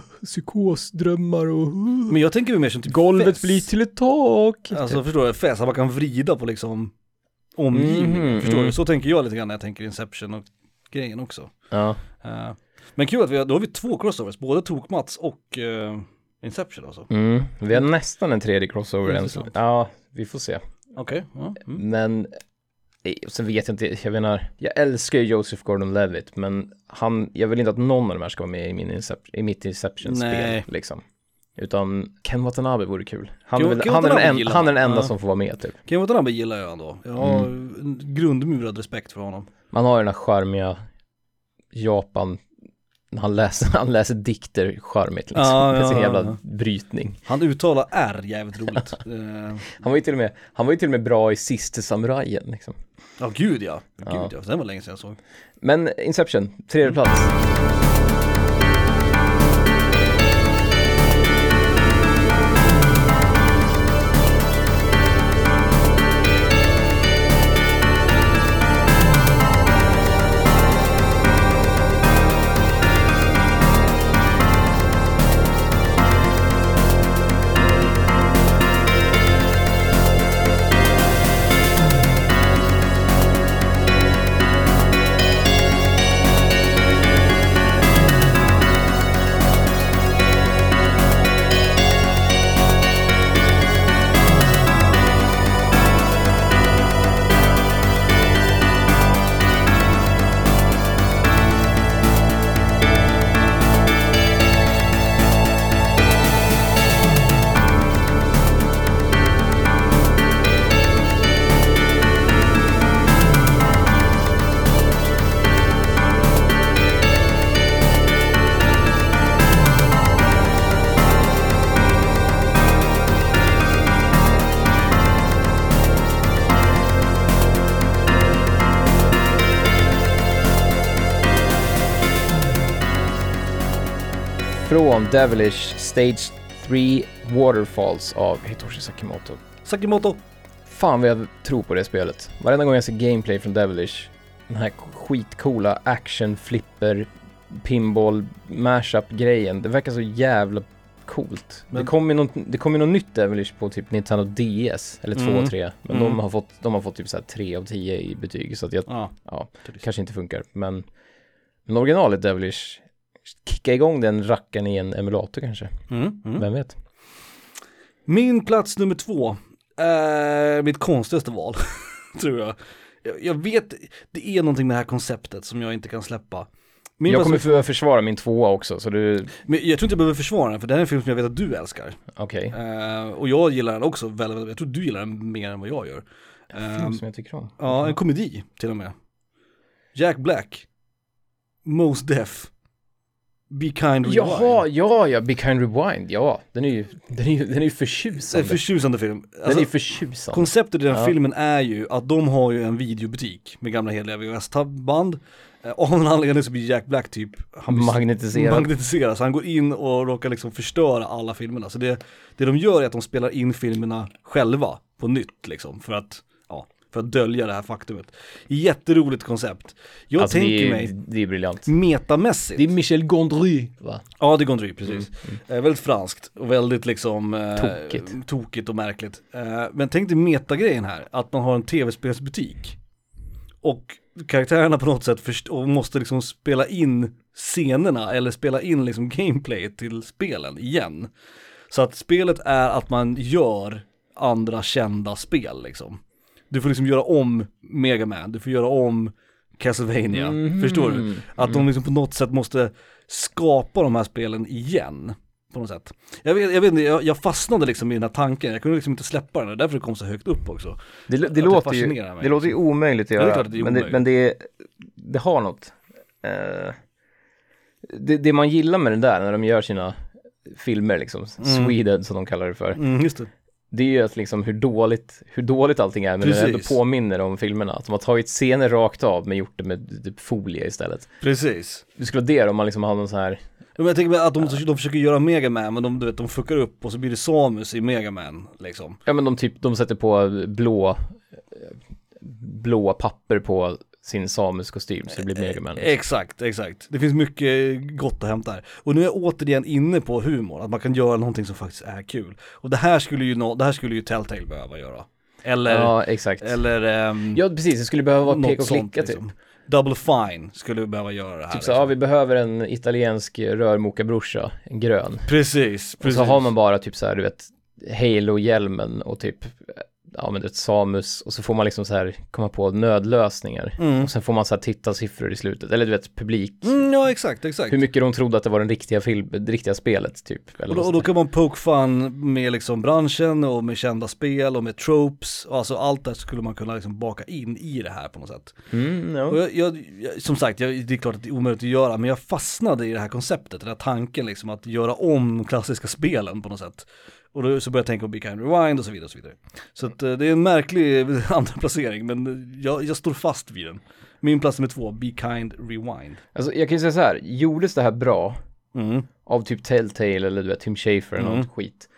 Speaker 2: psykosdrömmar och uh,
Speaker 1: Men jag tänker ju mer som typ
Speaker 2: golvet
Speaker 1: fest.
Speaker 2: blir till typ. ett tak.
Speaker 1: Alltså förstår du, fest, att man kan vrida på liksom omgivningen,
Speaker 2: Mhm,
Speaker 1: förstår
Speaker 2: mm.
Speaker 1: du? Så tänker jag lite grann när jag tänker Inception och grejen också.
Speaker 2: ja,
Speaker 1: Eh, men kul att vi har, då har vi två crossovers, både Tok-Mats och eh, Inception alltså.
Speaker 2: mm. vi har nästan en tredje crossover än så.
Speaker 1: Intressant.
Speaker 2: Ja, vi får se.
Speaker 1: Okej, ja. Mm.
Speaker 2: Men, eh, sen vet jag inte, jag menar, jag älskar ju Joseph Gordon-Levitt, men han, jag vill inte att någon av de här ska vara med i, min Incep- i mitt Inception-spel
Speaker 1: Nej.
Speaker 2: liksom. Utan Ken Watanabe vore kul. Han,
Speaker 1: Ken-
Speaker 2: är väl,
Speaker 1: Ken
Speaker 2: han, är,
Speaker 1: Watanabe
Speaker 2: den en,
Speaker 1: gillar
Speaker 2: han är den
Speaker 1: man.
Speaker 2: enda
Speaker 1: Ja.
Speaker 2: som får vara med typ.
Speaker 1: Ken Watanabe gillar jag ändå. Jag har
Speaker 2: Mm.
Speaker 1: en grundmurad respekt för honom.
Speaker 2: Man har ju den här charmiga Japan, när han läser, han läser dikter charmigt liksom.
Speaker 1: Ja,
Speaker 2: det är
Speaker 1: ja,
Speaker 2: en
Speaker 1: ja,
Speaker 2: jävla
Speaker 1: ja.
Speaker 2: brytning.
Speaker 1: Han uttalar R jävligt roligt. Eh,
Speaker 2: Han var ju till och med, han var ju till och med bra i Siste Samurajen liksom.
Speaker 1: Ja, gud ja. Gud
Speaker 2: Ja.
Speaker 1: ja. Den var länge sedan jag såg.
Speaker 2: Men Inception, tredje plats. Från Devilish Stage 3 Waterfalls av Hitoshi Sakimoto.
Speaker 1: Sakimoto.
Speaker 2: Fan vad jag tror på det spelet. Varenda gång jag ser gameplay från Devilish, den här skitcoola action flipper pinball mashup grejen det verkar så jävla coolt.
Speaker 1: Men-
Speaker 2: Det kom ju något, det kom ju något nytt Devilish på typ Nintendo DS, eller 2
Speaker 1: Mm.
Speaker 2: och 3, men
Speaker 1: Mm.
Speaker 2: de har fått, de har fått typ så här 3 av 10 i betyg så att jag
Speaker 1: Ja.
Speaker 2: Ja.
Speaker 1: Typiskt.
Speaker 2: kanske inte funkar, men, men originalet Devilish, kicka igång den rackaren i en emulator kanske,
Speaker 1: Mm. Mm.
Speaker 2: vem vet?
Speaker 1: Min plats nummer två är mitt konstigaste val, tror jag. jag. Jag vet, det är någonting med det här konceptet som jag inte kan släppa. Min
Speaker 2: jag
Speaker 1: plats-
Speaker 2: kommer för försvara min tvåa också, så du,
Speaker 1: Men jag tror inte jag behöver försvara den, för det här är en film som jag vet att du älskar.
Speaker 2: okej.
Speaker 1: Eh, och jag gillar den också väldigt, väldigt, jag tror du gillar den mer än vad jag gör. Eh,
Speaker 2: Film som jag tycker om.
Speaker 1: ja, en komedi till och med. Jack Black, Most Deaf, Be Kind Rewind.
Speaker 2: Jaha, ja, ja, Be Kind Rewind, ja. Den är ju, den är ju, den är ju
Speaker 1: En
Speaker 2: förtjusande.
Speaker 1: förtjusande film.
Speaker 2: Den är
Speaker 1: Alltså,
Speaker 2: ju förtjusande.
Speaker 1: Konceptet i den
Speaker 2: Ja.
Speaker 1: filmen är ju att de har ju en videobutik med gamla hederliga VHS-band. Eh, Av någon anledning så blir Jack Black typ, han blir
Speaker 2: Magnetiserad.
Speaker 1: magnetiseras. Han går in och råkar liksom förstöra alla filmerna. Så det, det de gör är att de spelar in filmerna själva på nytt liksom. För att, ja, För att dölja det här faktumet. Jätteroligt koncept. Jag
Speaker 2: Alltså,
Speaker 1: tänker
Speaker 2: det, är,
Speaker 1: mig
Speaker 2: det är briljant.
Speaker 1: metamässigt.
Speaker 2: Det är Michel Gondry, va?
Speaker 1: Ja, det är Gondry, precis. Eh, väldigt franskt och väldigt liksom eh,
Speaker 2: Tokigt.
Speaker 1: tokigt och märkligt. Eh, men tänk dig metagrejen här, att man har en tv-spelsbutik. Och karaktärerna på något sätt först- och måste liksom spela in scenerna eller spela in liksom gameplay till spelen igen. Så att spelet är att man gör andra kända spel liksom. Du får liksom göra om Mega Man, du får göra om Castlevania,
Speaker 2: Mhm.
Speaker 1: förstår du? Att
Speaker 2: Mm.
Speaker 1: de liksom på något sätt måste skapa de här spelen igen. På något sätt. Jag vet, jag vet inte, jag, jag fastnade liksom i den här tanken, jag kunde liksom inte släppa den, därför det kom så högt upp också.
Speaker 2: Det, det,
Speaker 1: det
Speaker 2: låter ju,
Speaker 1: fascinerar mig.
Speaker 2: det låter ju omöjligt att
Speaker 1: det är
Speaker 2: göra,
Speaker 1: klart att det är
Speaker 2: men, det,
Speaker 1: omöjligt.
Speaker 2: men det, är- det har något. Eh, det, det man gillar med det där, när de gör sina filmer, liksom, Sweden som de kallar det för,
Speaker 1: Mm, just det.
Speaker 2: det är ju att liksom hur dåligt, hur dåligt allting är, men det ändå
Speaker 1: Precis.
Speaker 2: påminner om filmerna. Att de har tagit scener rakt av, men gjort det med typ folie istället.
Speaker 1: Precis.
Speaker 2: Det skulle vara det om man liksom hade någon sån här,
Speaker 1: Ja, Men jag tänker mig att de, de försöker göra Mega Man men de, du vet, de fuckar upp och så blir det Samus i Mega Man liksom.
Speaker 2: ja men de typ, de sätter på blå, eh, blåa papper på sin Samus-kostym, så det blir Mega Man.
Speaker 1: Eh, Exakt, exakt. Det finns mycket gott att hämta här. Och nu är jag återigen inne på humor, att man kan göra någonting som faktiskt är kul. Och det här skulle ju, nå- det här skulle ju Telltale behöva göra. Eller,
Speaker 2: Ja, exakt.
Speaker 1: eller ehm,
Speaker 2: Ja, precis. Det skulle behöva vara pek och
Speaker 1: sånt,
Speaker 2: klicka typ.
Speaker 1: liksom. Double Fine skulle behöva göra det här.
Speaker 2: Typ så,
Speaker 1: liksom.
Speaker 2: ja vi behöver en italiensk rörmokarbrorsa, en grön.
Speaker 1: Precis,
Speaker 2: Och
Speaker 1: precis.
Speaker 2: så har man bara typ så här, du vet, Halo-hjälmen och typ, ja men du vet, Samus. Och så får man liksom så här komma på nödlösningar.
Speaker 1: Mm.
Speaker 2: Och sen får man så här tittarsiffror i slutet, eller du vet publik.
Speaker 1: Mm, ja, exakt, exakt.
Speaker 2: Hur mycket de trodde att det var den riktiga film, det riktiga spelet typ. Eller
Speaker 1: Och då, och då kan man poke fun med liksom branschen och med kända spel och med tropes. Och Alltså allt det här skulle man kunna liksom baka in i det här på något sätt.
Speaker 2: mm, ja.
Speaker 1: Och jag, jag, jag, som sagt, jag, det är klart att det är omöjligt att göra, men jag fastnade i det här konceptet, den här tanken liksom att göra om de klassiska spelen på något sätt. Och då så började jag tänka på Be Kind Rewind och så vidare. Och så vidare. så att, eh, det är en märklig andra placering men jag, jag står fast vid den. Min plats nummer två, Be Kind Rewind.
Speaker 2: Alltså jag kan ju säga så här, gjordes det här bra
Speaker 1: Mm.
Speaker 2: av typ Telltale eller du vet Tim Schafer eller
Speaker 1: Mm.
Speaker 2: något skit.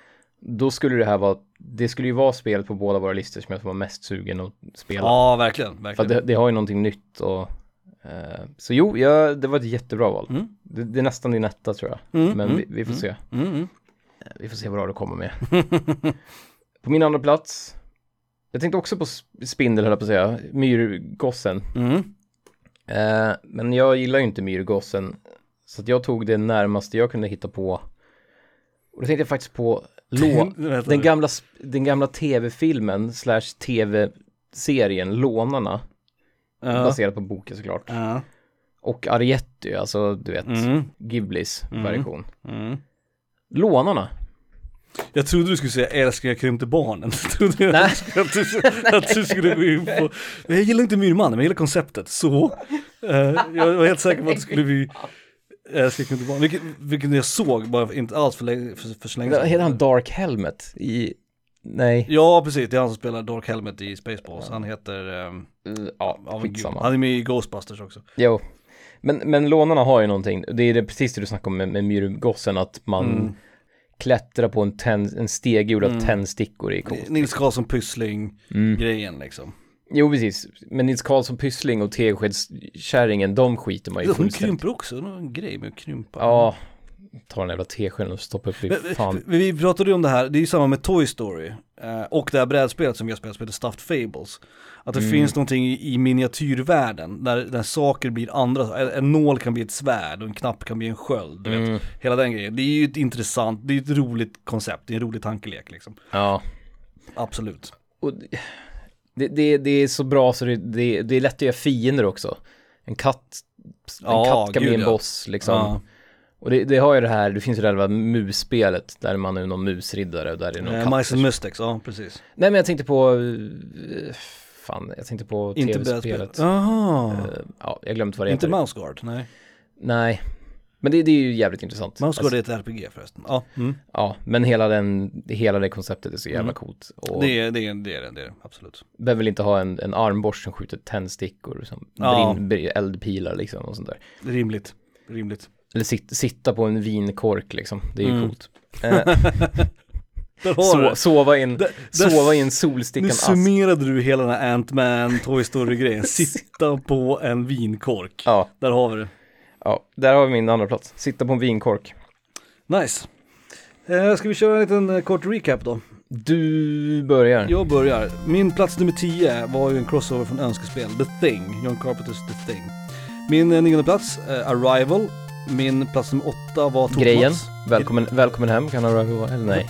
Speaker 2: Då skulle det här vara, det skulle ju vara spelet på båda våra listor som jag var mest sugen att spela.
Speaker 1: Ja, verkligen.
Speaker 2: För
Speaker 1: verkligen.
Speaker 2: att det, det har ju någonting nytt och eh, så jo, ja, det var ett jättebra val.
Speaker 1: Mm.
Speaker 2: Det, det är nästan din etta tror jag.
Speaker 1: Mm,
Speaker 2: Men
Speaker 1: mm,
Speaker 2: vi, vi får se. Eh,
Speaker 1: Mm, mm.
Speaker 2: Vi får se vad du kommer med. på min andra plats, jag tänkte också på sp- spindel höll jag på att säga, myrgossen.
Speaker 1: Mm.
Speaker 2: Eh, men jag gillar ju inte myrgossen. Så att jag tog det närmaste jag kunde hitta på. Och då tänkte jag faktiskt på lå-
Speaker 1: Den heter-
Speaker 2: den gamla, sp- den gamla tv-filmen slash tv-serien Lånarna.
Speaker 1: Ja.
Speaker 2: Baserad på boken såklart.
Speaker 1: Mm. Ja.
Speaker 2: Och Arietti, alltså du vet,
Speaker 1: Mm.
Speaker 2: Ghiblis
Speaker 1: Mm.
Speaker 2: version.
Speaker 1: Mm.
Speaker 2: Lånarna.
Speaker 1: Jag trodde du skulle säga älskling jag krympte barnen. Jag trodde jag
Speaker 2: Nej.
Speaker 1: att, du, att du skulle gå in på. Men jag gillar inte Myrmannen, men jag gillar konceptet. Så eh, jag var helt säker på att det skulle bli älskling jag krympte barnen. Vilket, vilket jag såg bara inte alls för, länge, för, för så länge
Speaker 2: Heter
Speaker 1: sedan.
Speaker 2: han Dark Helmet? I... Nej.
Speaker 1: Ja precis, det är han som spelar Dark Helmet i Spaceballs. Han heter, eh, ja,
Speaker 2: Ja,
Speaker 1: men gud,
Speaker 2: skitsamma.
Speaker 1: han är med i Ghostbusters också.
Speaker 2: Jo. Men, men lånarna har ju någonting, det är det precis det du snackade om med, med myrgossen, att man
Speaker 1: Mm.
Speaker 2: klättrar på en, tänn- en steg gjord av
Speaker 1: Mm.
Speaker 2: tändstickor i coolt.
Speaker 1: Nils Karlsson Pyssling-grejen
Speaker 2: Mm.
Speaker 1: liksom.
Speaker 2: Jo, precis. Men Nils Karlsson Pyssling och Teskedskärringen, de skiter man ju
Speaker 1: Hon
Speaker 2: fullständigt
Speaker 1: krymper också, det är någon grej med att krympa.
Speaker 2: Ja, ta den jävla teskeden och stoppa upp i
Speaker 1: Men, eh,
Speaker 2: fan.
Speaker 1: Vi vi pratade ju om det här, det är ju samma med Toy Story eh, och det här brädspelet som vi har spelat som heter Stuffed Fables. Att
Speaker 2: Mm.
Speaker 1: det finns någonting i, i miniatyrvärlden där, där saker blir andra, en, en nål kan bli ett svärd och en knapp kan bli en sköld. Du
Speaker 2: Mm.
Speaker 1: vet. Hela den grejen, det är ju ett intressant, det är ett roligt koncept, det är en rolig tankelek liksom.
Speaker 2: Ja.
Speaker 1: Absolut.
Speaker 2: Och det, det, det är så bra så det, det, det är lätt att göra fiender också. En katt, en
Speaker 1: Ja,
Speaker 2: katt kan
Speaker 1: gud,
Speaker 2: bli en
Speaker 1: ja.
Speaker 2: boss liksom.
Speaker 1: Ja.
Speaker 2: Och det, det har ju det här, det finns ju det här jävla musspelet där man är någon musriddare och där är någon
Speaker 1: Eh,
Speaker 2: katt.
Speaker 1: Mice and Mystics, ja precis.
Speaker 2: Nej men jag tänkte på, eh, fan jag tänkte på
Speaker 1: Inte
Speaker 2: tv-spelet.
Speaker 1: brädspelet. Jaha,
Speaker 2: Eh, ja, jag glömde vad det
Speaker 1: inte
Speaker 2: heter.
Speaker 1: Mouse Guard, nej.
Speaker 2: Nej. Men det, det är ju jävligt intressant. Alltså,
Speaker 1: Mouse Guard är ett RPG förresten. Ja, mm.
Speaker 2: Ja, men hela, den, hela det konceptet är så jävla coolt. Och
Speaker 1: det, är, det, är, det är det, det är det, absolut.
Speaker 2: behöver väl inte ha en, en armborst som skjuter tändstickor, som
Speaker 1: Ja.
Speaker 2: brinn, br- eldpilar liksom och sånt där.
Speaker 1: Rimligt, rimligt.
Speaker 2: Eller sit, sitta på en vinkork liksom, det är ju
Speaker 1: Mm.
Speaker 2: coolt. Eh,
Speaker 1: Där har du
Speaker 2: So,
Speaker 1: det.
Speaker 2: sova in,
Speaker 1: Där- där-
Speaker 2: sova in
Speaker 1: Nu
Speaker 2: solstickan
Speaker 1: alltså.
Speaker 2: ask.
Speaker 1: summerade du hela den här Ant-Man, Toy Story-grejen. Sitta på en vinkork.
Speaker 2: Ja,
Speaker 1: Där har vi det.
Speaker 2: ja, där har vi min andra plats. Sitta på en vinkork.
Speaker 1: Nice. Eh, ska vi köra en liten eh, kort recap då?
Speaker 2: Du börjar.
Speaker 1: Jag börjar. Min plats nummer 10 var ju en crossover från önskespel, The Thing, John Carpenters The Thing. Min eh, nionde plats, eh, Arrival. Min plats nummer 8 var Tokmats.
Speaker 2: Grejen. Välkommen, välkommen hem kan han röra Eller nej.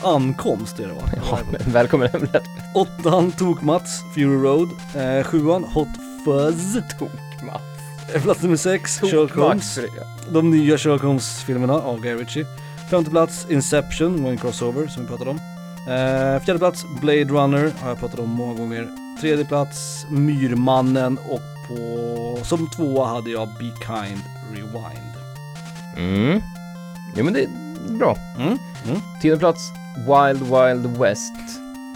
Speaker 1: Ankomst är det va?
Speaker 2: Ja, men välkommen hem lät
Speaker 1: Åttan Tokmats, Fury Road. Eh, sjuan Hot Fuzz.
Speaker 2: tokmatt.
Speaker 1: Eh, Plats nummer 6, Sherlock Holmes. De nya Sherlock Holmes-filmerna av Guy Ritchie. Femte plats Inception, var en crossover som vi pratade om. Eh, fjärde plats Blade Runner, har jag pratat om många gånger. Tredje plats Myrmannen och på, som tvåa hade jag Be Kind Rewind.
Speaker 2: Mm. Jo men det är bra.
Speaker 1: Mm.
Speaker 2: Tionde plats, Wild Wild West.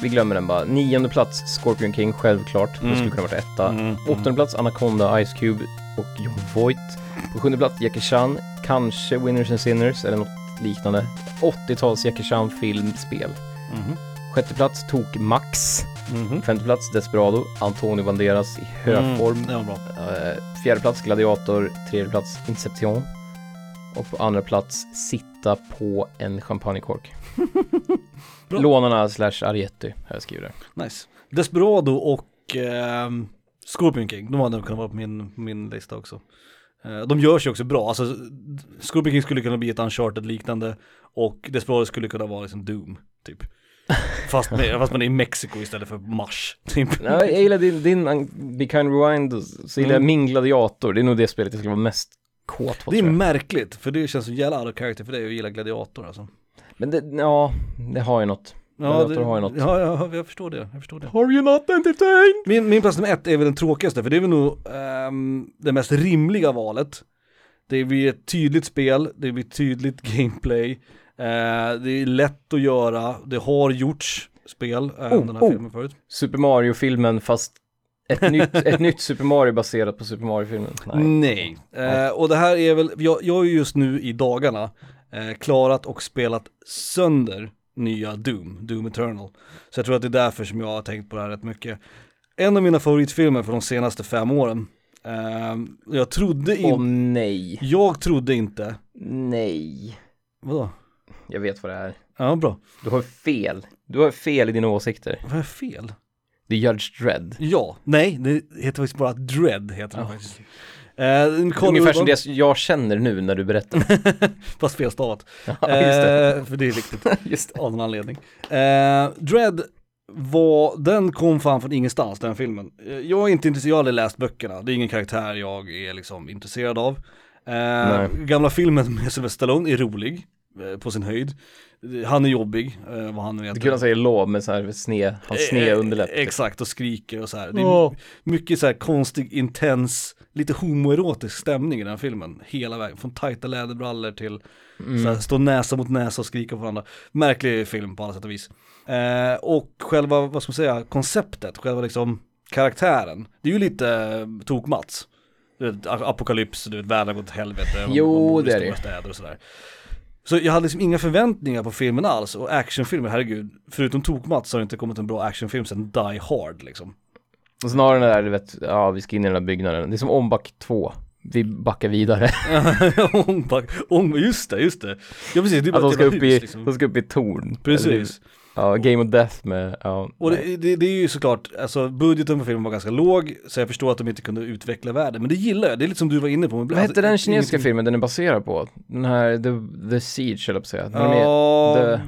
Speaker 2: Vi glömmer den bara. Nionde plats, Scorpion King, självklart.
Speaker 1: Mm.
Speaker 2: Det skulle kunna varit etta.
Speaker 1: Mm.
Speaker 2: Åttonde plats, Anaconda, Ice Cube och John Voight. På sjunde plats, Jackie Chan. Kanske Winners and Sinners eller något liknande. 80-tals Jackie Chan filmspel.
Speaker 1: Mhm.
Speaker 2: Sjätte plats, Tok Max.
Speaker 1: Mhm.
Speaker 2: Femte plats, Desperado. Antonio Banderas i Mm. högform.
Speaker 1: Mm, det var bra.
Speaker 2: Eh, Fjärde plats Gladiator, tredje plats Inception och på andra plats sitta på en champagnekork.
Speaker 1: Bra.
Speaker 2: Lånarna slash Arietti har jag skrivit där.
Speaker 1: Nice. Desperado och ehm, Scorpion King, de hade nog kunnat vara på min, min lista också. Eh, de görs ju också bra, alltså Scorpion King skulle kunna bli ett Uncharted-liknande och Desperado skulle kunna vara liksom Doom, typ. Fast, med, fast man är i Mexiko istället för Mars, typ.
Speaker 2: Nej, jag gillar din, din Be Kind Rewind och så gillar jag
Speaker 1: Mm.
Speaker 2: min Gladiator. Det är nog det spelet jag skulle vara mest kåt på
Speaker 1: Det är
Speaker 2: tror jag.
Speaker 1: märkligt, för det känns så jävla out of character för dig att gilla Gladiator alltså.
Speaker 2: Men det, ja, det har ju något. Gladiator
Speaker 1: det,
Speaker 2: har ju något.
Speaker 1: Ja, ja, jag förstår det, jag förstår det.
Speaker 2: Are you not entertained?
Speaker 1: Min, min plats nummer ett är väl den tråkigaste, för det är väl nog ehm, det mest rimliga valet. Det blir ett tydligt spel, det blir tydligt gameplay, eh, det är lätt att göra, det har gjorts spel, eh,
Speaker 2: Oh,
Speaker 1: den här
Speaker 2: oh.
Speaker 1: filmen förut.
Speaker 2: Super Mario-filmen fast ett nytt, ett nytt Super Mario baserat på Super Mario-filmen. Nej.
Speaker 1: Mm, Nej. Eh, och det här är väl, jag, jag har ju just nu i dagarna eh, klarat och spelat sönder nya Doom, Doom Eternal. Så jag tror att det är därför som jag har tänkt på det här rätt mycket. En av mina favoritfilmer från de senaste fem åren, ehm, jag trodde inte
Speaker 2: Åh nej,
Speaker 1: Jag trodde inte.
Speaker 2: nej.
Speaker 1: Vadå?
Speaker 2: Jag vet vad det är.
Speaker 1: Ja, bra.
Speaker 2: Du har fel. Du har fel i dina åsikter.
Speaker 1: Vad är fel?
Speaker 2: Det är Judge Dredd.
Speaker 1: Ja, nej, det heter faktiskt bara Dread heter det
Speaker 2: Ja.
Speaker 1: faktiskt. Eh, Carl
Speaker 2: Ungefär
Speaker 1: Urban,
Speaker 2: som det jag känner nu när du berättar.
Speaker 1: fast felstavat.
Speaker 2: Ja,
Speaker 1: Eh, för det är viktigt
Speaker 2: Just det.
Speaker 1: av någon anledning. Eh, Dread var, den kom fan från ingenstans den filmen. Eh, Jag är inte intresserad, jag har aldrig läst böckerna, det är ingen karaktär jag är liksom intresserad av. Eh,
Speaker 2: Nej.
Speaker 1: gamla filmen med Sylvester Stallone är rolig, eh, på sin höjd. Eh, Han är jobbig, eh, vad han nu
Speaker 2: Det är
Speaker 1: heter.
Speaker 2: kul att han säger lov med så här sne, hans sne
Speaker 1: Eh,
Speaker 2: underläpp. typ.
Speaker 1: Exakt, och skriker och så här. Det är
Speaker 2: Åh.
Speaker 1: mycket så här konstig, intens, lite homoerotisk stämning i den här filmen. Hela vägen, från tajta läderbrallor till så
Speaker 2: Mm.
Speaker 1: här, stå näsa mot näsa och skrika på varandra. Märklig film på alla sätt och vis. Eh, och själva, vad ska man säga, konceptet, själva liksom karaktären. Det är ju lite eh, tok-Mats. Du vet, a- Apokalyps, du vet, världen går åt helvete. de-
Speaker 2: Jo,
Speaker 1: de bor i
Speaker 2: det är
Speaker 1: stora
Speaker 2: det.
Speaker 1: Städer och sådär. Så jag hade liksom inga förväntningar på filmen alls och actionfilmer, herregud, förutom Tokmats har det inte kommit en bra actionfilm sen Die Hard liksom.
Speaker 2: Och sen har den där, du vet, ja vi ska in i den där byggnaden. Det är som Ombak 2. Vi backar vidare.
Speaker 1: Ångback, ång, just det, just det. Ja precis, det är
Speaker 2: Att
Speaker 1: bara
Speaker 2: Alltså, de
Speaker 1: ett
Speaker 2: ska
Speaker 1: jävla
Speaker 2: upp
Speaker 1: hus
Speaker 2: i,
Speaker 1: liksom.
Speaker 2: de ska upp i torn. Eller det-
Speaker 1: Precis.
Speaker 2: Ja, Game of Death med, ja.
Speaker 1: Och det, det, det är ju såklart, alltså budgeten på filmen var ganska låg, så jag förstår att de inte kunde utveckla världen, men det gillar jag, det är lite som du var inne på. Alltså,
Speaker 2: Vad hette den kinesiska filmen den är baserad på? Den här The, The Siege, eller på att säga. När de är-
Speaker 1: Ja,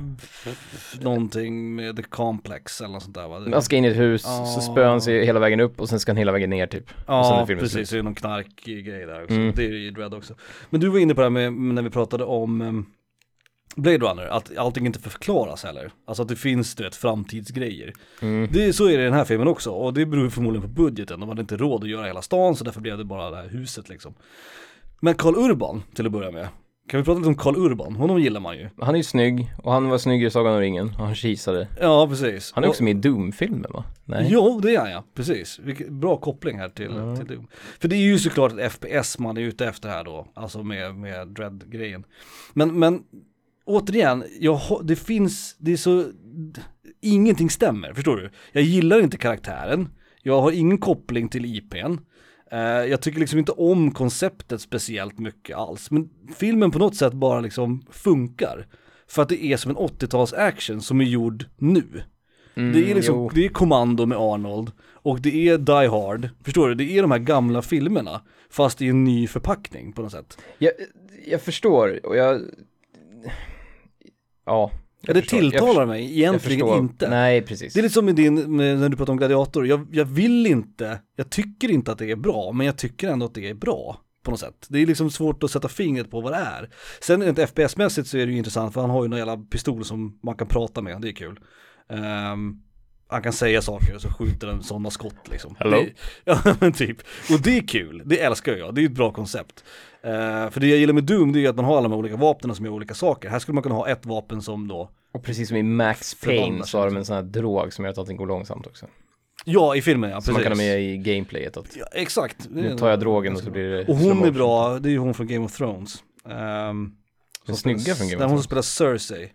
Speaker 2: The-
Speaker 1: någonting med The Complex eller något sånt där va?
Speaker 2: Han ska in i ett hus,
Speaker 1: Ja.
Speaker 2: så spöar han sig hela vägen upp och sen ska han hela vägen ner typ. och sen
Speaker 1: Ja,
Speaker 2: är filmen
Speaker 1: precis,
Speaker 2: slut.
Speaker 1: det är någon knarkgrej där också.
Speaker 2: Mm.
Speaker 1: Det är ju i Dread också. Men du var inne på det här med, när vi pratade om em, Blade Runner, att allting inte förklaras heller. Alltså att det finns, du vet, framtidsgrejer.
Speaker 2: Mm.
Speaker 1: Det, så är det i den här filmen också, och det beror ju förmodligen på budgeten. De hade inte råd att göra hela stan, så därför blev det bara det här huset liksom. Men Karl Urban, till att börja med. Kan vi prata lite om Karl Urban? Honom gillar man ju.
Speaker 2: Han är ju snygg, och han var snygg i Sagan om ringen, och han kisade.
Speaker 1: Ja, precis.
Speaker 2: Han är
Speaker 1: Och-
Speaker 2: också med i Doom-filmen va? Nej?
Speaker 1: Jo, det är han ja, precis. Vilket, bra koppling här till, till Doom. För det är ju såklart ett FPS man är ute efter här då, alltså med, med Dread-grejen. Men, men återigen, jag, ho- det finns, det är så, ingenting stämmer, förstår du? Jag gillar inte karaktären, jag har ingen koppling till IPn. Eh, jag tycker liksom inte om konceptet speciellt mycket alls, men filmen på något sätt bara liksom funkar. För att det är som en 80-tals action som är gjord nu. Det är liksom,
Speaker 2: Mm, jo.
Speaker 1: det är kommando med Arnold och det är Die Hard, förstår du? Det är de här gamla filmerna, fast i en ny förpackning på något sätt.
Speaker 2: Jag, jag förstår och jag... Ja.
Speaker 1: Ja,
Speaker 2: jag
Speaker 1: det
Speaker 2: förstår.
Speaker 1: tilltalar
Speaker 2: jag,
Speaker 1: mig
Speaker 2: jag
Speaker 1: egentligen
Speaker 2: förstår.
Speaker 1: inte.
Speaker 2: Nej, precis.
Speaker 1: Det är lite som med din, med, när du pratar om Gladiator, jag, jag vill inte, jag tycker inte att det är bra, men jag tycker ändå att det är bra på något sätt. Det är liksom svårt att sätta fingret på vad det är. Sen rent FPS-mässigt så är det ju intressant för han har ju någon jävla pistol som man kan prata med, det är kul. Ehm, han kan säga saker och så skjuter den sådana skott liksom.
Speaker 2: Hello?
Speaker 1: Det, ja men typ. Och det är kul, det älskar jag, det är ett bra koncept. Ehm, för det jag gillar med Doom det är ju att man har alla de här olika vapnen som gör olika saker. Här skulle man kunna ha ett vapen som då
Speaker 2: Och precis som i Max
Speaker 1: Förbannat
Speaker 2: Payne så har de en sån här drog som gör att allting går långsamt också.
Speaker 1: Ja, i filmen ja, precis.
Speaker 2: Som man kan ha med i gameplayet att
Speaker 1: Ja, exakt.
Speaker 2: nu tar jag drogen och så blir det
Speaker 1: Och hon är
Speaker 2: slowmotion.
Speaker 1: bra, det är ju hon från Game of Thrones. Um,
Speaker 2: Den snygga från Game of
Speaker 1: Hon som
Speaker 2: Thrones.
Speaker 1: spelar Cersei.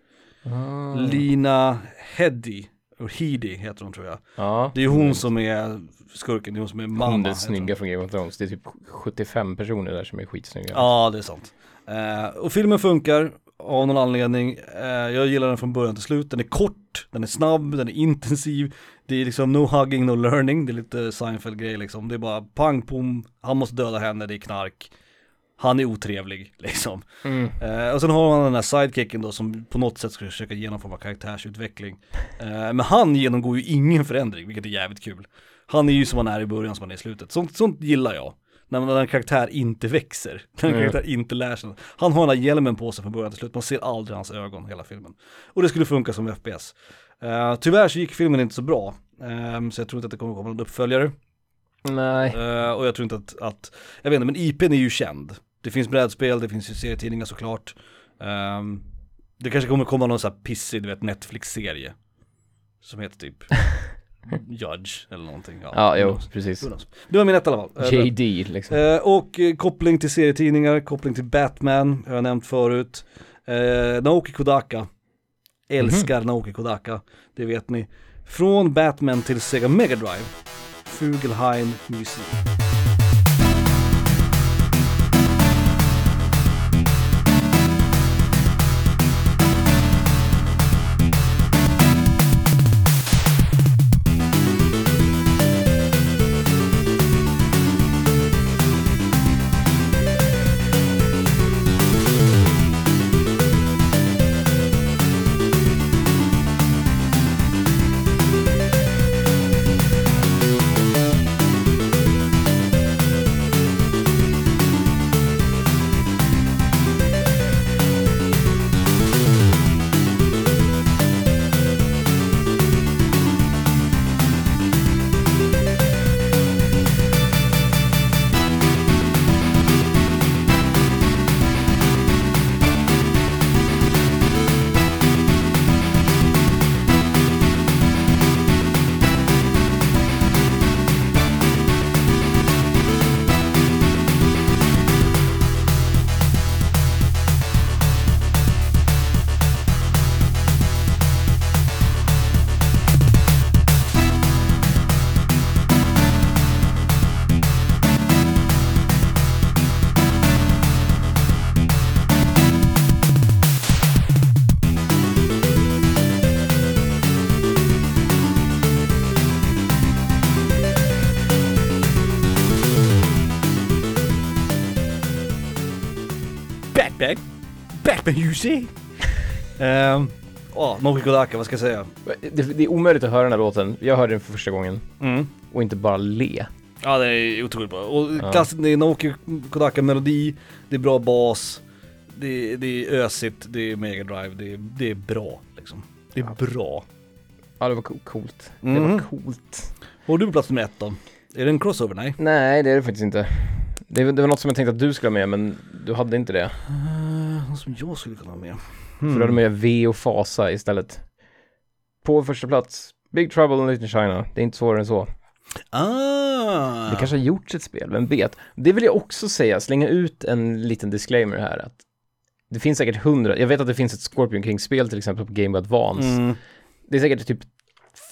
Speaker 2: Ah.
Speaker 1: Lina Heddy, och Heedy heter hon tror jag.
Speaker 2: Ja,
Speaker 1: Det är ju hon som är skurken, det är hon som är mamma.
Speaker 2: Mm. hon den
Speaker 1: heter
Speaker 2: snygga från Game of Thrones. Det är typ 75 personer där som är skitsnygga.
Speaker 1: Ja, det är sant. Eh, och filmen funkar av någon anledning. Eh, jag gillar den från början till slut. Den är kort, den är snabb, den är intensiv. Det är liksom no hugging, no learning. Det är lite Seinfeld-grej liksom. Det är bara pang pom, han måste döda henne, det är knark. Han är otrevlig liksom.
Speaker 2: Mm.
Speaker 1: Eh, och sen har man den här sidekicken då som på något sätt ska försöka genomföra karaktärsutveckling. Eh, men han genomgår ju ingen förändring, vilket är jävligt kul. Han är ju som han är i början, som han är i slutet. Sånt, sånt gillar jag. När, man- när en karaktär inte växer, när en
Speaker 2: Mm.
Speaker 1: karaktär inte lär sig något. Han har den här hjälmen på sig från början till slut, man ser aldrig hans ögon hela filmen. Och det skulle funka som FPS. Eh, tyvärr så gick filmen inte så bra, eh, så jag tror inte att det kommer komma någon uppföljare.
Speaker 2: Nej.
Speaker 1: Eh, och jag tror inte att, att, jag vet inte, men IPn är ju känd. Det finns brädspel, det finns ju serietidningar såklart. Ehm, det kanske kommer komma någon sån här pissig, du vet, Netflix-serie. Som heter typ Judge eller någonting. Ja,
Speaker 2: Ja,
Speaker 1: who
Speaker 2: jo,
Speaker 1: knows?
Speaker 2: precis.
Speaker 1: Who knows? Det var min ett i alla fall. Eh,
Speaker 2: JD liksom.
Speaker 1: Eh, och eh, koppling till serietidningar, koppling till Batman, har jag nämnt förut. Eh, Naoki Kodaka, älskar
Speaker 2: Mhm.
Speaker 1: Naoki Kodaka, det vet ni. Från Batman till Sega Mega Drive, Fugelheim Museum. Batman, Batman you see. Ehm, Ja, Naoki Kodaka, vad ska jag säga?
Speaker 2: Det, det är omöjligt att höra den här låten. Jag hörde den för första gången
Speaker 1: Mm.
Speaker 2: och inte bara le.
Speaker 1: Ja, det är otroligt bra. Och
Speaker 2: Ja.
Speaker 1: klass, det är Naoki Kodaka-melodi, det är bra bas, det, är- det är ösigt, det är Mega Drive, det, är- det är bra liksom. Det är bra.
Speaker 2: Ja, det var co- coolt. Det
Speaker 1: Mhm.
Speaker 2: var coolt.
Speaker 1: Och du på plats nummer ett då? Är det en crossover? Nej.
Speaker 2: Nej, det är det faktiskt inte. Det, var- det var något som jag tänkte att du skulle ha med, men du hade inte det.
Speaker 1: Uh, någon som jag skulle kunna ha med. Hmm.
Speaker 2: Så då hade man ju V och Fasa istället. På första plats, Big Trouble in Little China. Det är inte svårare än så.
Speaker 1: Ah!
Speaker 2: Det kanske har gjorts ett spel, vem vet? Det vill jag också säga, slänga ut en liten disclaimer här att Det finns säkert hundra, jag vet att det finns ett Scorpion King-spel till exempel på Game Boy Advance.
Speaker 1: Mm.
Speaker 2: Det är säkert typ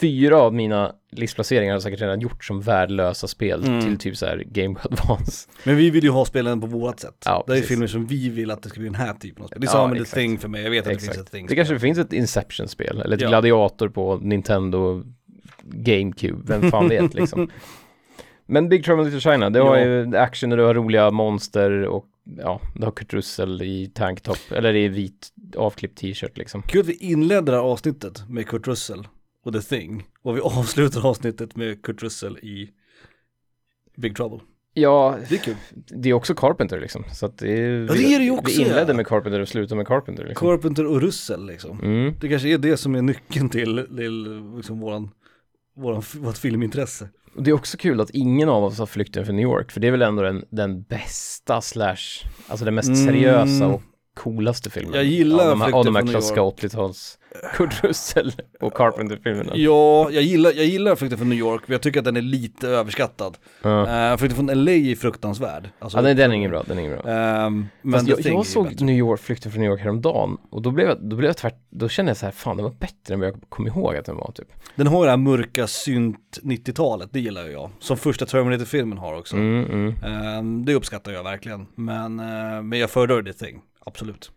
Speaker 2: fyra av mina livsplaceringar har jag säkert redan gjort som värdelösa spel
Speaker 1: Mm.
Speaker 2: till typ så här Game Boy Advance.
Speaker 1: Men vi vill ju ha spelen på vårat sätt.
Speaker 2: Ja,
Speaker 1: det är
Speaker 2: precis.
Speaker 1: filmer som vi vill att det ska bli den här typen av spel. Det är
Speaker 2: Ja,
Speaker 1: samma med The
Speaker 2: exakt.
Speaker 1: Thing för mig, jag vet att det finns ett
Speaker 2: Exakt.
Speaker 1: Thing.
Speaker 2: Det kanske finns ett Inception-spel, eller ett
Speaker 1: Ja.
Speaker 2: Gladiator på Nintendo GameCube, vem fan vet liksom. Men Big Trouble in Little China, det har
Speaker 1: Ja.
Speaker 2: ju action och du har roliga monster och ja, du har Kurt Russell i tanktopp, eller i vit avklippt t-shirt liksom.
Speaker 1: Kul att vi inledde det här avsnittet med Kurt Russell och The Thing. Och vi avslutar avsnittet med Kurt Russell i Big Trouble.
Speaker 2: Ja,
Speaker 1: Det är kul.
Speaker 2: det är också Carpenter liksom, så att det är...
Speaker 1: Ja, det är det ju också,
Speaker 2: Vi inledde
Speaker 1: ja.
Speaker 2: med Carpenter och slutade med Carpenter liksom.
Speaker 1: Carpenter och Russell liksom.
Speaker 2: Mm.
Speaker 1: Det kanske är det som är nyckeln till, till liksom våran, våran, vårt filmintresse.
Speaker 2: Och det är också kul att ingen av oss har flykten för New York, för det är väl ändå den, den bästa slash, alltså den mest
Speaker 1: Mm.
Speaker 2: seriösa och coolaste filmen.
Speaker 1: Jag gillar
Speaker 2: av de här, av
Speaker 1: Flykten
Speaker 2: de här
Speaker 1: från New
Speaker 2: klassiska 80-tals Kurt Russell och Carpenter-filmerna.
Speaker 1: Ja, jag gillar, jag gillar Flykten från New York, men jag tycker att den är lite överskattad.
Speaker 2: Ja.
Speaker 1: Uh, Flykten från LA är fruktansvärd. Alltså,
Speaker 2: Ja, nej, den är ingen bra, den är ingen bra.
Speaker 1: Ehm, men
Speaker 2: Fast
Speaker 1: The
Speaker 2: jag,
Speaker 1: Thing är
Speaker 2: jag såg
Speaker 1: bättre.
Speaker 2: New York, Flykten från New York häromdagen och då blev jag, då blev jag tvärt, då kände jag så här, fan den var bättre än vad jag kom ihåg att den var typ.
Speaker 1: Den har ju det här mörka synt 90-talet, det gillar ju jag. Som första Terminator-filmen har också.
Speaker 2: Mm, mm.
Speaker 1: Ehm, det uppskattar jag verkligen. Men, eh, men jag föredrar The Thing, absolut.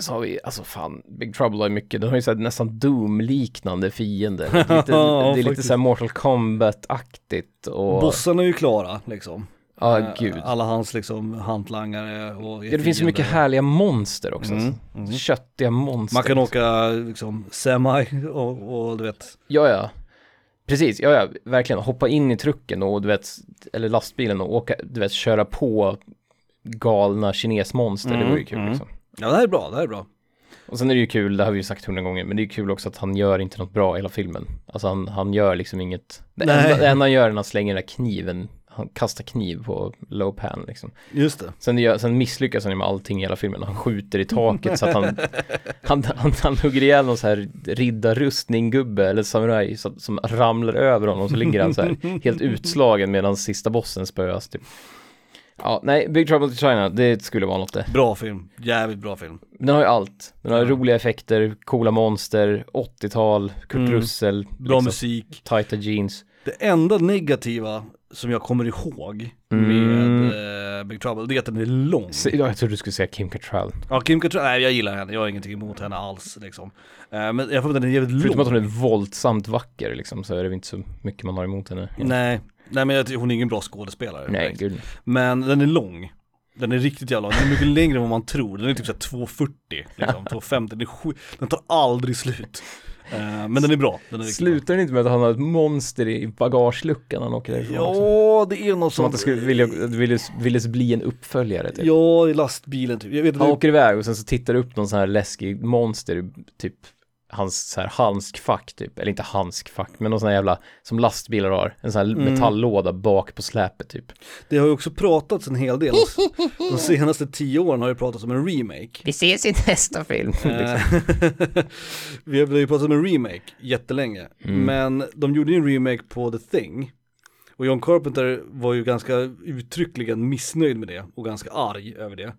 Speaker 2: Så har vi, alltså fan, Big Trouble har ju mycket, den har ju så här nästan Doom-liknande fiender. Det är lite,
Speaker 1: Ja,
Speaker 2: det är lite
Speaker 1: faktiskt.
Speaker 2: så här Mortal Kombat-aktigt och...
Speaker 1: Bossarna är ju klara liksom.
Speaker 2: Ja,
Speaker 1: Eh,
Speaker 2: gud.
Speaker 1: Alla hans liksom hantlangare och
Speaker 2: Ja, det finns så mycket
Speaker 1: fiender.
Speaker 2: härliga monster också.
Speaker 1: Mm,
Speaker 2: alltså.
Speaker 1: mm.
Speaker 2: Köttiga monster.
Speaker 1: Man kan åka liksom semi och, och du vet.
Speaker 2: Ja, ja. Precis, ja, ja, verkligen. Hoppa in i trucken och du vet, eller lastbilen och åka, du vet, köra på galna kinesmonster.
Speaker 1: Mm,
Speaker 2: det vore ju kul
Speaker 1: mm.
Speaker 2: liksom.
Speaker 1: Ja det här är bra, det här är bra.
Speaker 2: Och sen är det ju kul, det har vi ju sagt hundra gånger, men det är ju kul också att han gör inte något bra i hela filmen. Alltså han, han gör liksom inget, det
Speaker 1: Nej.
Speaker 2: enda, det enda han gör är att han slänger den där kniven, han kastar kniv på low pan liksom.
Speaker 1: Just det.
Speaker 2: Sen, gör, sen misslyckas han ju med allting i hela filmen. Han skjuter i taket så att han, han, han, han hugger ihjäl någon så här riddarrustning-gubbe eller samuraj så, att- som ramlar över honom så ligger han så här helt utslagen medan sista bossen spöas typ. Ja, nej, Big Trouble in China, det skulle vara något det.
Speaker 1: Bra film, jävligt bra film.
Speaker 2: Den har ju allt. Den har
Speaker 1: Ja.
Speaker 2: roliga effekter, coola monster, 80-tal, Kurt
Speaker 1: Mm.
Speaker 2: Russell,
Speaker 1: Bra
Speaker 2: liksom,
Speaker 1: musik.
Speaker 2: tajta jeans.
Speaker 1: Det enda negativa som jag kommer ihåg med eh, Big Trouble, det är att den är lång.
Speaker 2: Se- ja, Jag trodde du skulle säga Kim Cattrall.
Speaker 1: Ja, Kim Cattrall, nej jag gillar henne, jag har ingenting emot henne alls liksom. Eh, men jag får att den är jävligt
Speaker 2: Förutom
Speaker 1: lång.
Speaker 2: att hon är våldsamt vacker liksom, så är det väl inte så mycket man har emot henne.
Speaker 1: Nej, nej men jag, tycker hon är ingen bra skådespelare.
Speaker 2: Nej,
Speaker 1: direkt.
Speaker 2: gud.
Speaker 1: Men den är lång. Den är riktigt jävla lång, den är mycket längre än vad man tror. Den är typ såhär 2,40, liksom, 2,50, den, är sju- den tar aldrig slut. Eh, men den är bra, den är riktigt bra.
Speaker 2: Slutar det inte med att han har ett monster i bagageluckan när han åker därifrån? också?
Speaker 1: Ja, det är något
Speaker 2: Som att
Speaker 1: sånt.
Speaker 2: det skulle vilja, ville, ville bli en uppföljare typ.
Speaker 1: Ja, i lastbilen typ. Jag vet att
Speaker 2: Han
Speaker 1: det-
Speaker 2: åker iväg och sen så tittar det upp någon sån här läskig monster i typ hans så här handskfack typ, eller inte handskfack, men någon sån här jävla som lastbilar har, en sån här
Speaker 1: Mm.
Speaker 2: metalllåda bak på släpet typ.
Speaker 1: Det har ju också pratats en hel del. Alltså, De senaste tio åren har det pratats om en remake.
Speaker 2: Vi ses i nästa film. liksom. Mm.
Speaker 1: Eh, Vi har ju pratat om en remake jättelänge. Men de gjorde ju en remake på The Thing. Och John Carpenter var ju ganska uttryckligen missnöjd med det och ganska arg över det.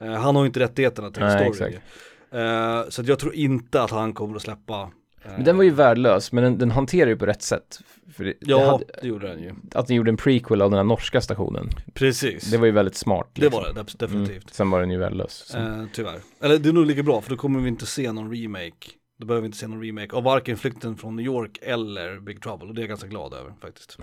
Speaker 1: Eh, Han har ju inte rättigheterna till
Speaker 2: Nej,
Speaker 1: storyn.
Speaker 2: exakt.
Speaker 1: Eh, Så att jag tror inte att han kommer att släppa. eh,
Speaker 2: Men den var ju värdelös, men den, den hanterar ju på rätt sätt. För det, det
Speaker 1: Ja,
Speaker 2: hade,
Speaker 1: det gjorde han ju.
Speaker 2: att den gjorde en prequel av den här norska stationen,
Speaker 1: Precis.
Speaker 2: det var ju väldigt smart.
Speaker 1: Det
Speaker 2: liksom.
Speaker 1: var det, def- definitivt.
Speaker 2: Sen var den ju värdelös. så.
Speaker 1: Eh, tyvärr. Eller det är nog lika bra för då kommer vi inte se någon remake. Då behöver vi inte se någon remake av varken Flykten från New York eller Big Trouble och det är jag ganska glad över faktiskt.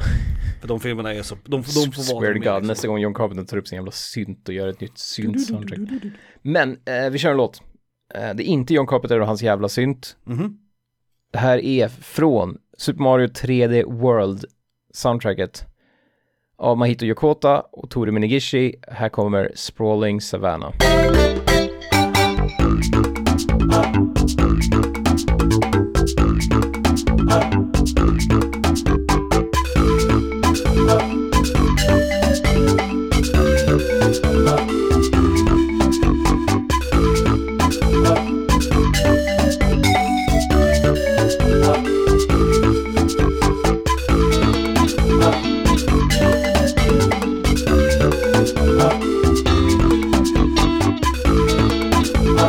Speaker 1: för de filmerna är så, de, de får vara liksom.
Speaker 2: Swear to God, nästa gång John Carpenter tar upp sin jävla synt och gör ett nytt synt-soundtrack. Men eh, vi kör en låt. Eh, det är inte John Carpenter och hans jävla synt.
Speaker 1: Mhm.
Speaker 2: Det här är från Super Mario 3D World-soundtracket av Mahito Yokota och Tore Minigishi. Här kommer Sprawling Savannah.
Speaker 3: Thank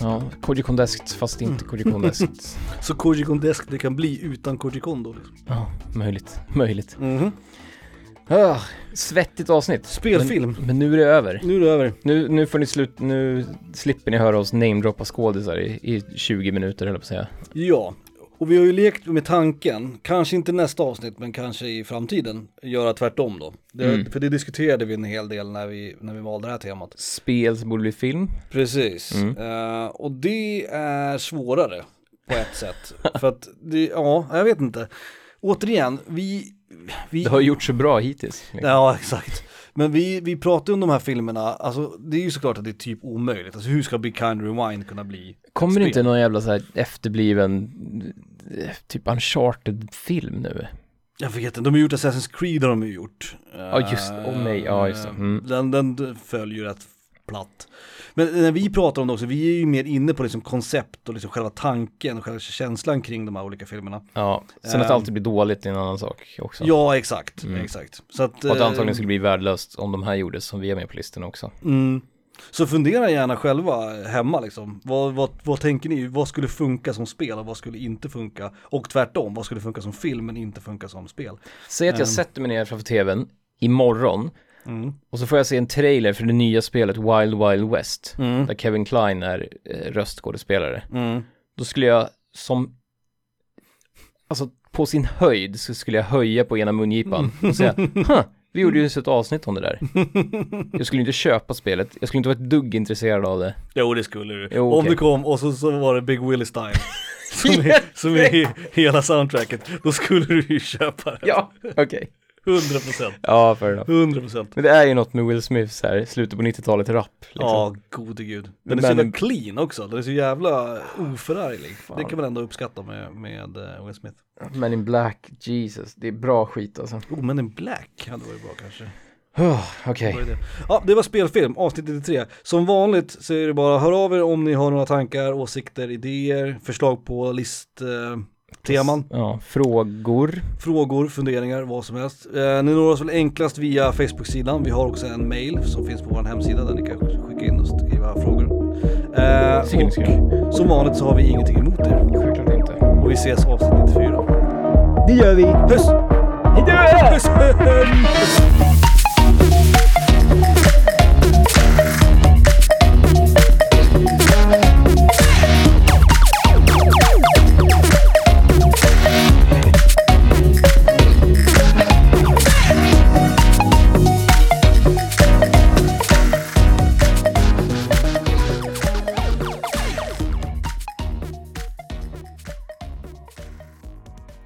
Speaker 2: Ja, Koji Kondeskt fast inte Koji Kondeskt.
Speaker 1: Så Koji Kondesk det kan bli utan Koji Kondo. Liksom.
Speaker 2: Ja, möjligt, möjligt.
Speaker 1: Mhm.
Speaker 2: Ah, svettigt avsnitt.
Speaker 1: Spelfilm.
Speaker 2: Men, men nu är det över.
Speaker 1: Nu är det över.
Speaker 2: Nu, nu får ni slut, nu slipper ni höra oss namedroppa skådisar i, i 20 minuter höll jag på att säga.
Speaker 1: Ja, och vi har ju lekt med tanken, kanske inte nästa avsnitt men kanske i framtiden, göra tvärtom då. Det,
Speaker 2: Mm.
Speaker 1: För det diskuterade vi en hel del när vi, när vi valde det här temat.
Speaker 2: Spel som borde bli film.
Speaker 1: Precis,
Speaker 2: Mm.
Speaker 1: Eh, och det är svårare på ett sätt. för att det, ja, jag vet inte. Återigen, vi... vi
Speaker 2: Det har ju gjort så bra hittills. liksom.
Speaker 1: Ja, exakt. Men vi, vi pratar ju om de här filmerna, alltså det är ju såklart att det är typ omöjligt. Alltså hur ska Be Kind Rewind kunna bli?
Speaker 2: Kommer det
Speaker 1: Spel.
Speaker 2: inte någon jävla så här efterbliven eh, typ uncharted-film nu?
Speaker 1: Jag vet inte, de har gjort Assassin's Creed har de ju gjort. Eh,
Speaker 2: Ja, just det. Åh, nej. Ja, just det. Mm.
Speaker 1: Den, den följer ju rätt platt. Men eh, när vi pratar om det också, vi är ju mer inne på liksom koncept och liksom själva tanken och själva känslan kring de här olika filmerna.
Speaker 2: Ja, sen att det
Speaker 1: Ehm.
Speaker 2: alltid blir dåligt är en annan sak också.
Speaker 1: Ja, exakt,
Speaker 2: Mm.
Speaker 1: exakt. Så att,
Speaker 2: Och att det
Speaker 1: eh,
Speaker 2: antagligen skulle bli värdelöst om de här gjordes som vi är med på listan också.
Speaker 1: Mm. Så fundera gärna själva hemma liksom. Vad, vad, vad tänker ni? Vad skulle funka som spel och vad skulle inte funka? Och tvärtom, vad skulle funka som film men inte funka som spel?
Speaker 2: Säg att jag
Speaker 1: Ehm.
Speaker 2: sätter mig ner framför tvn imorgon
Speaker 1: Mm.
Speaker 2: och så får jag se en trailer för det nya spelet Wild Wild West.
Speaker 1: Mm.
Speaker 2: Där Kevin Kline är eh, röstskådespelare.
Speaker 1: Mm.
Speaker 2: Då skulle jag som, alltså på sin höjd så skulle jag höja på ena mungipan
Speaker 1: Mm.
Speaker 2: och säga, "Huh, vi gjorde ju ett avsnitt om det där. Jag skulle inte köpa spelet, jag skulle inte vara ett dugg intresserad av det.
Speaker 1: Jo det skulle du.
Speaker 2: Jo,
Speaker 1: Om
Speaker 2: okej.
Speaker 1: du kom och så, så var det Big Willie Style. Som är, som är he- hela soundtracket. Då skulle du ju köpa det.
Speaker 2: Ja, okej.
Speaker 1: 100%.
Speaker 2: Ja, fair enough.
Speaker 1: 100%.
Speaker 2: Men det är ju något med Will Smiths här, slutet på 90-talet rap. Liksom.
Speaker 1: Ja, gode gud. Den är så
Speaker 2: Men-
Speaker 1: jävla clean också, den är så jävla oförarglig. Det
Speaker 2: Fan.
Speaker 1: kan man ändå uppskatta med, med eh, Will Smith.
Speaker 2: Men in Black, Jesus, det är bra skit alltså.
Speaker 1: Oh, men en Black hade varit bra kanske.
Speaker 2: Oh, okej.
Speaker 1: Det var det. Ja, det var spelfilm, avsnitt 93. Som vanligt så är det bara hör av er om ni har några tankar, åsikter, idéer, förslag på list... Eh, Teman.
Speaker 2: Ja, frågor.
Speaker 1: frågor, funderingar, vad som helst. Eh, ni når oss väl enklast via Facebook-sidan. Vi har också en mail som finns på vår hemsida där ni kan skicka in och skriva frågor. Eh,
Speaker 2: Tycker ni ska göra?
Speaker 1: och som vanligt så har vi ingenting emot er
Speaker 2: Självklart inte.
Speaker 1: och vi ses avsnitt 94.
Speaker 2: Det gör vi.
Speaker 1: Puss!
Speaker 2: Hejdå!
Speaker 1: Puss!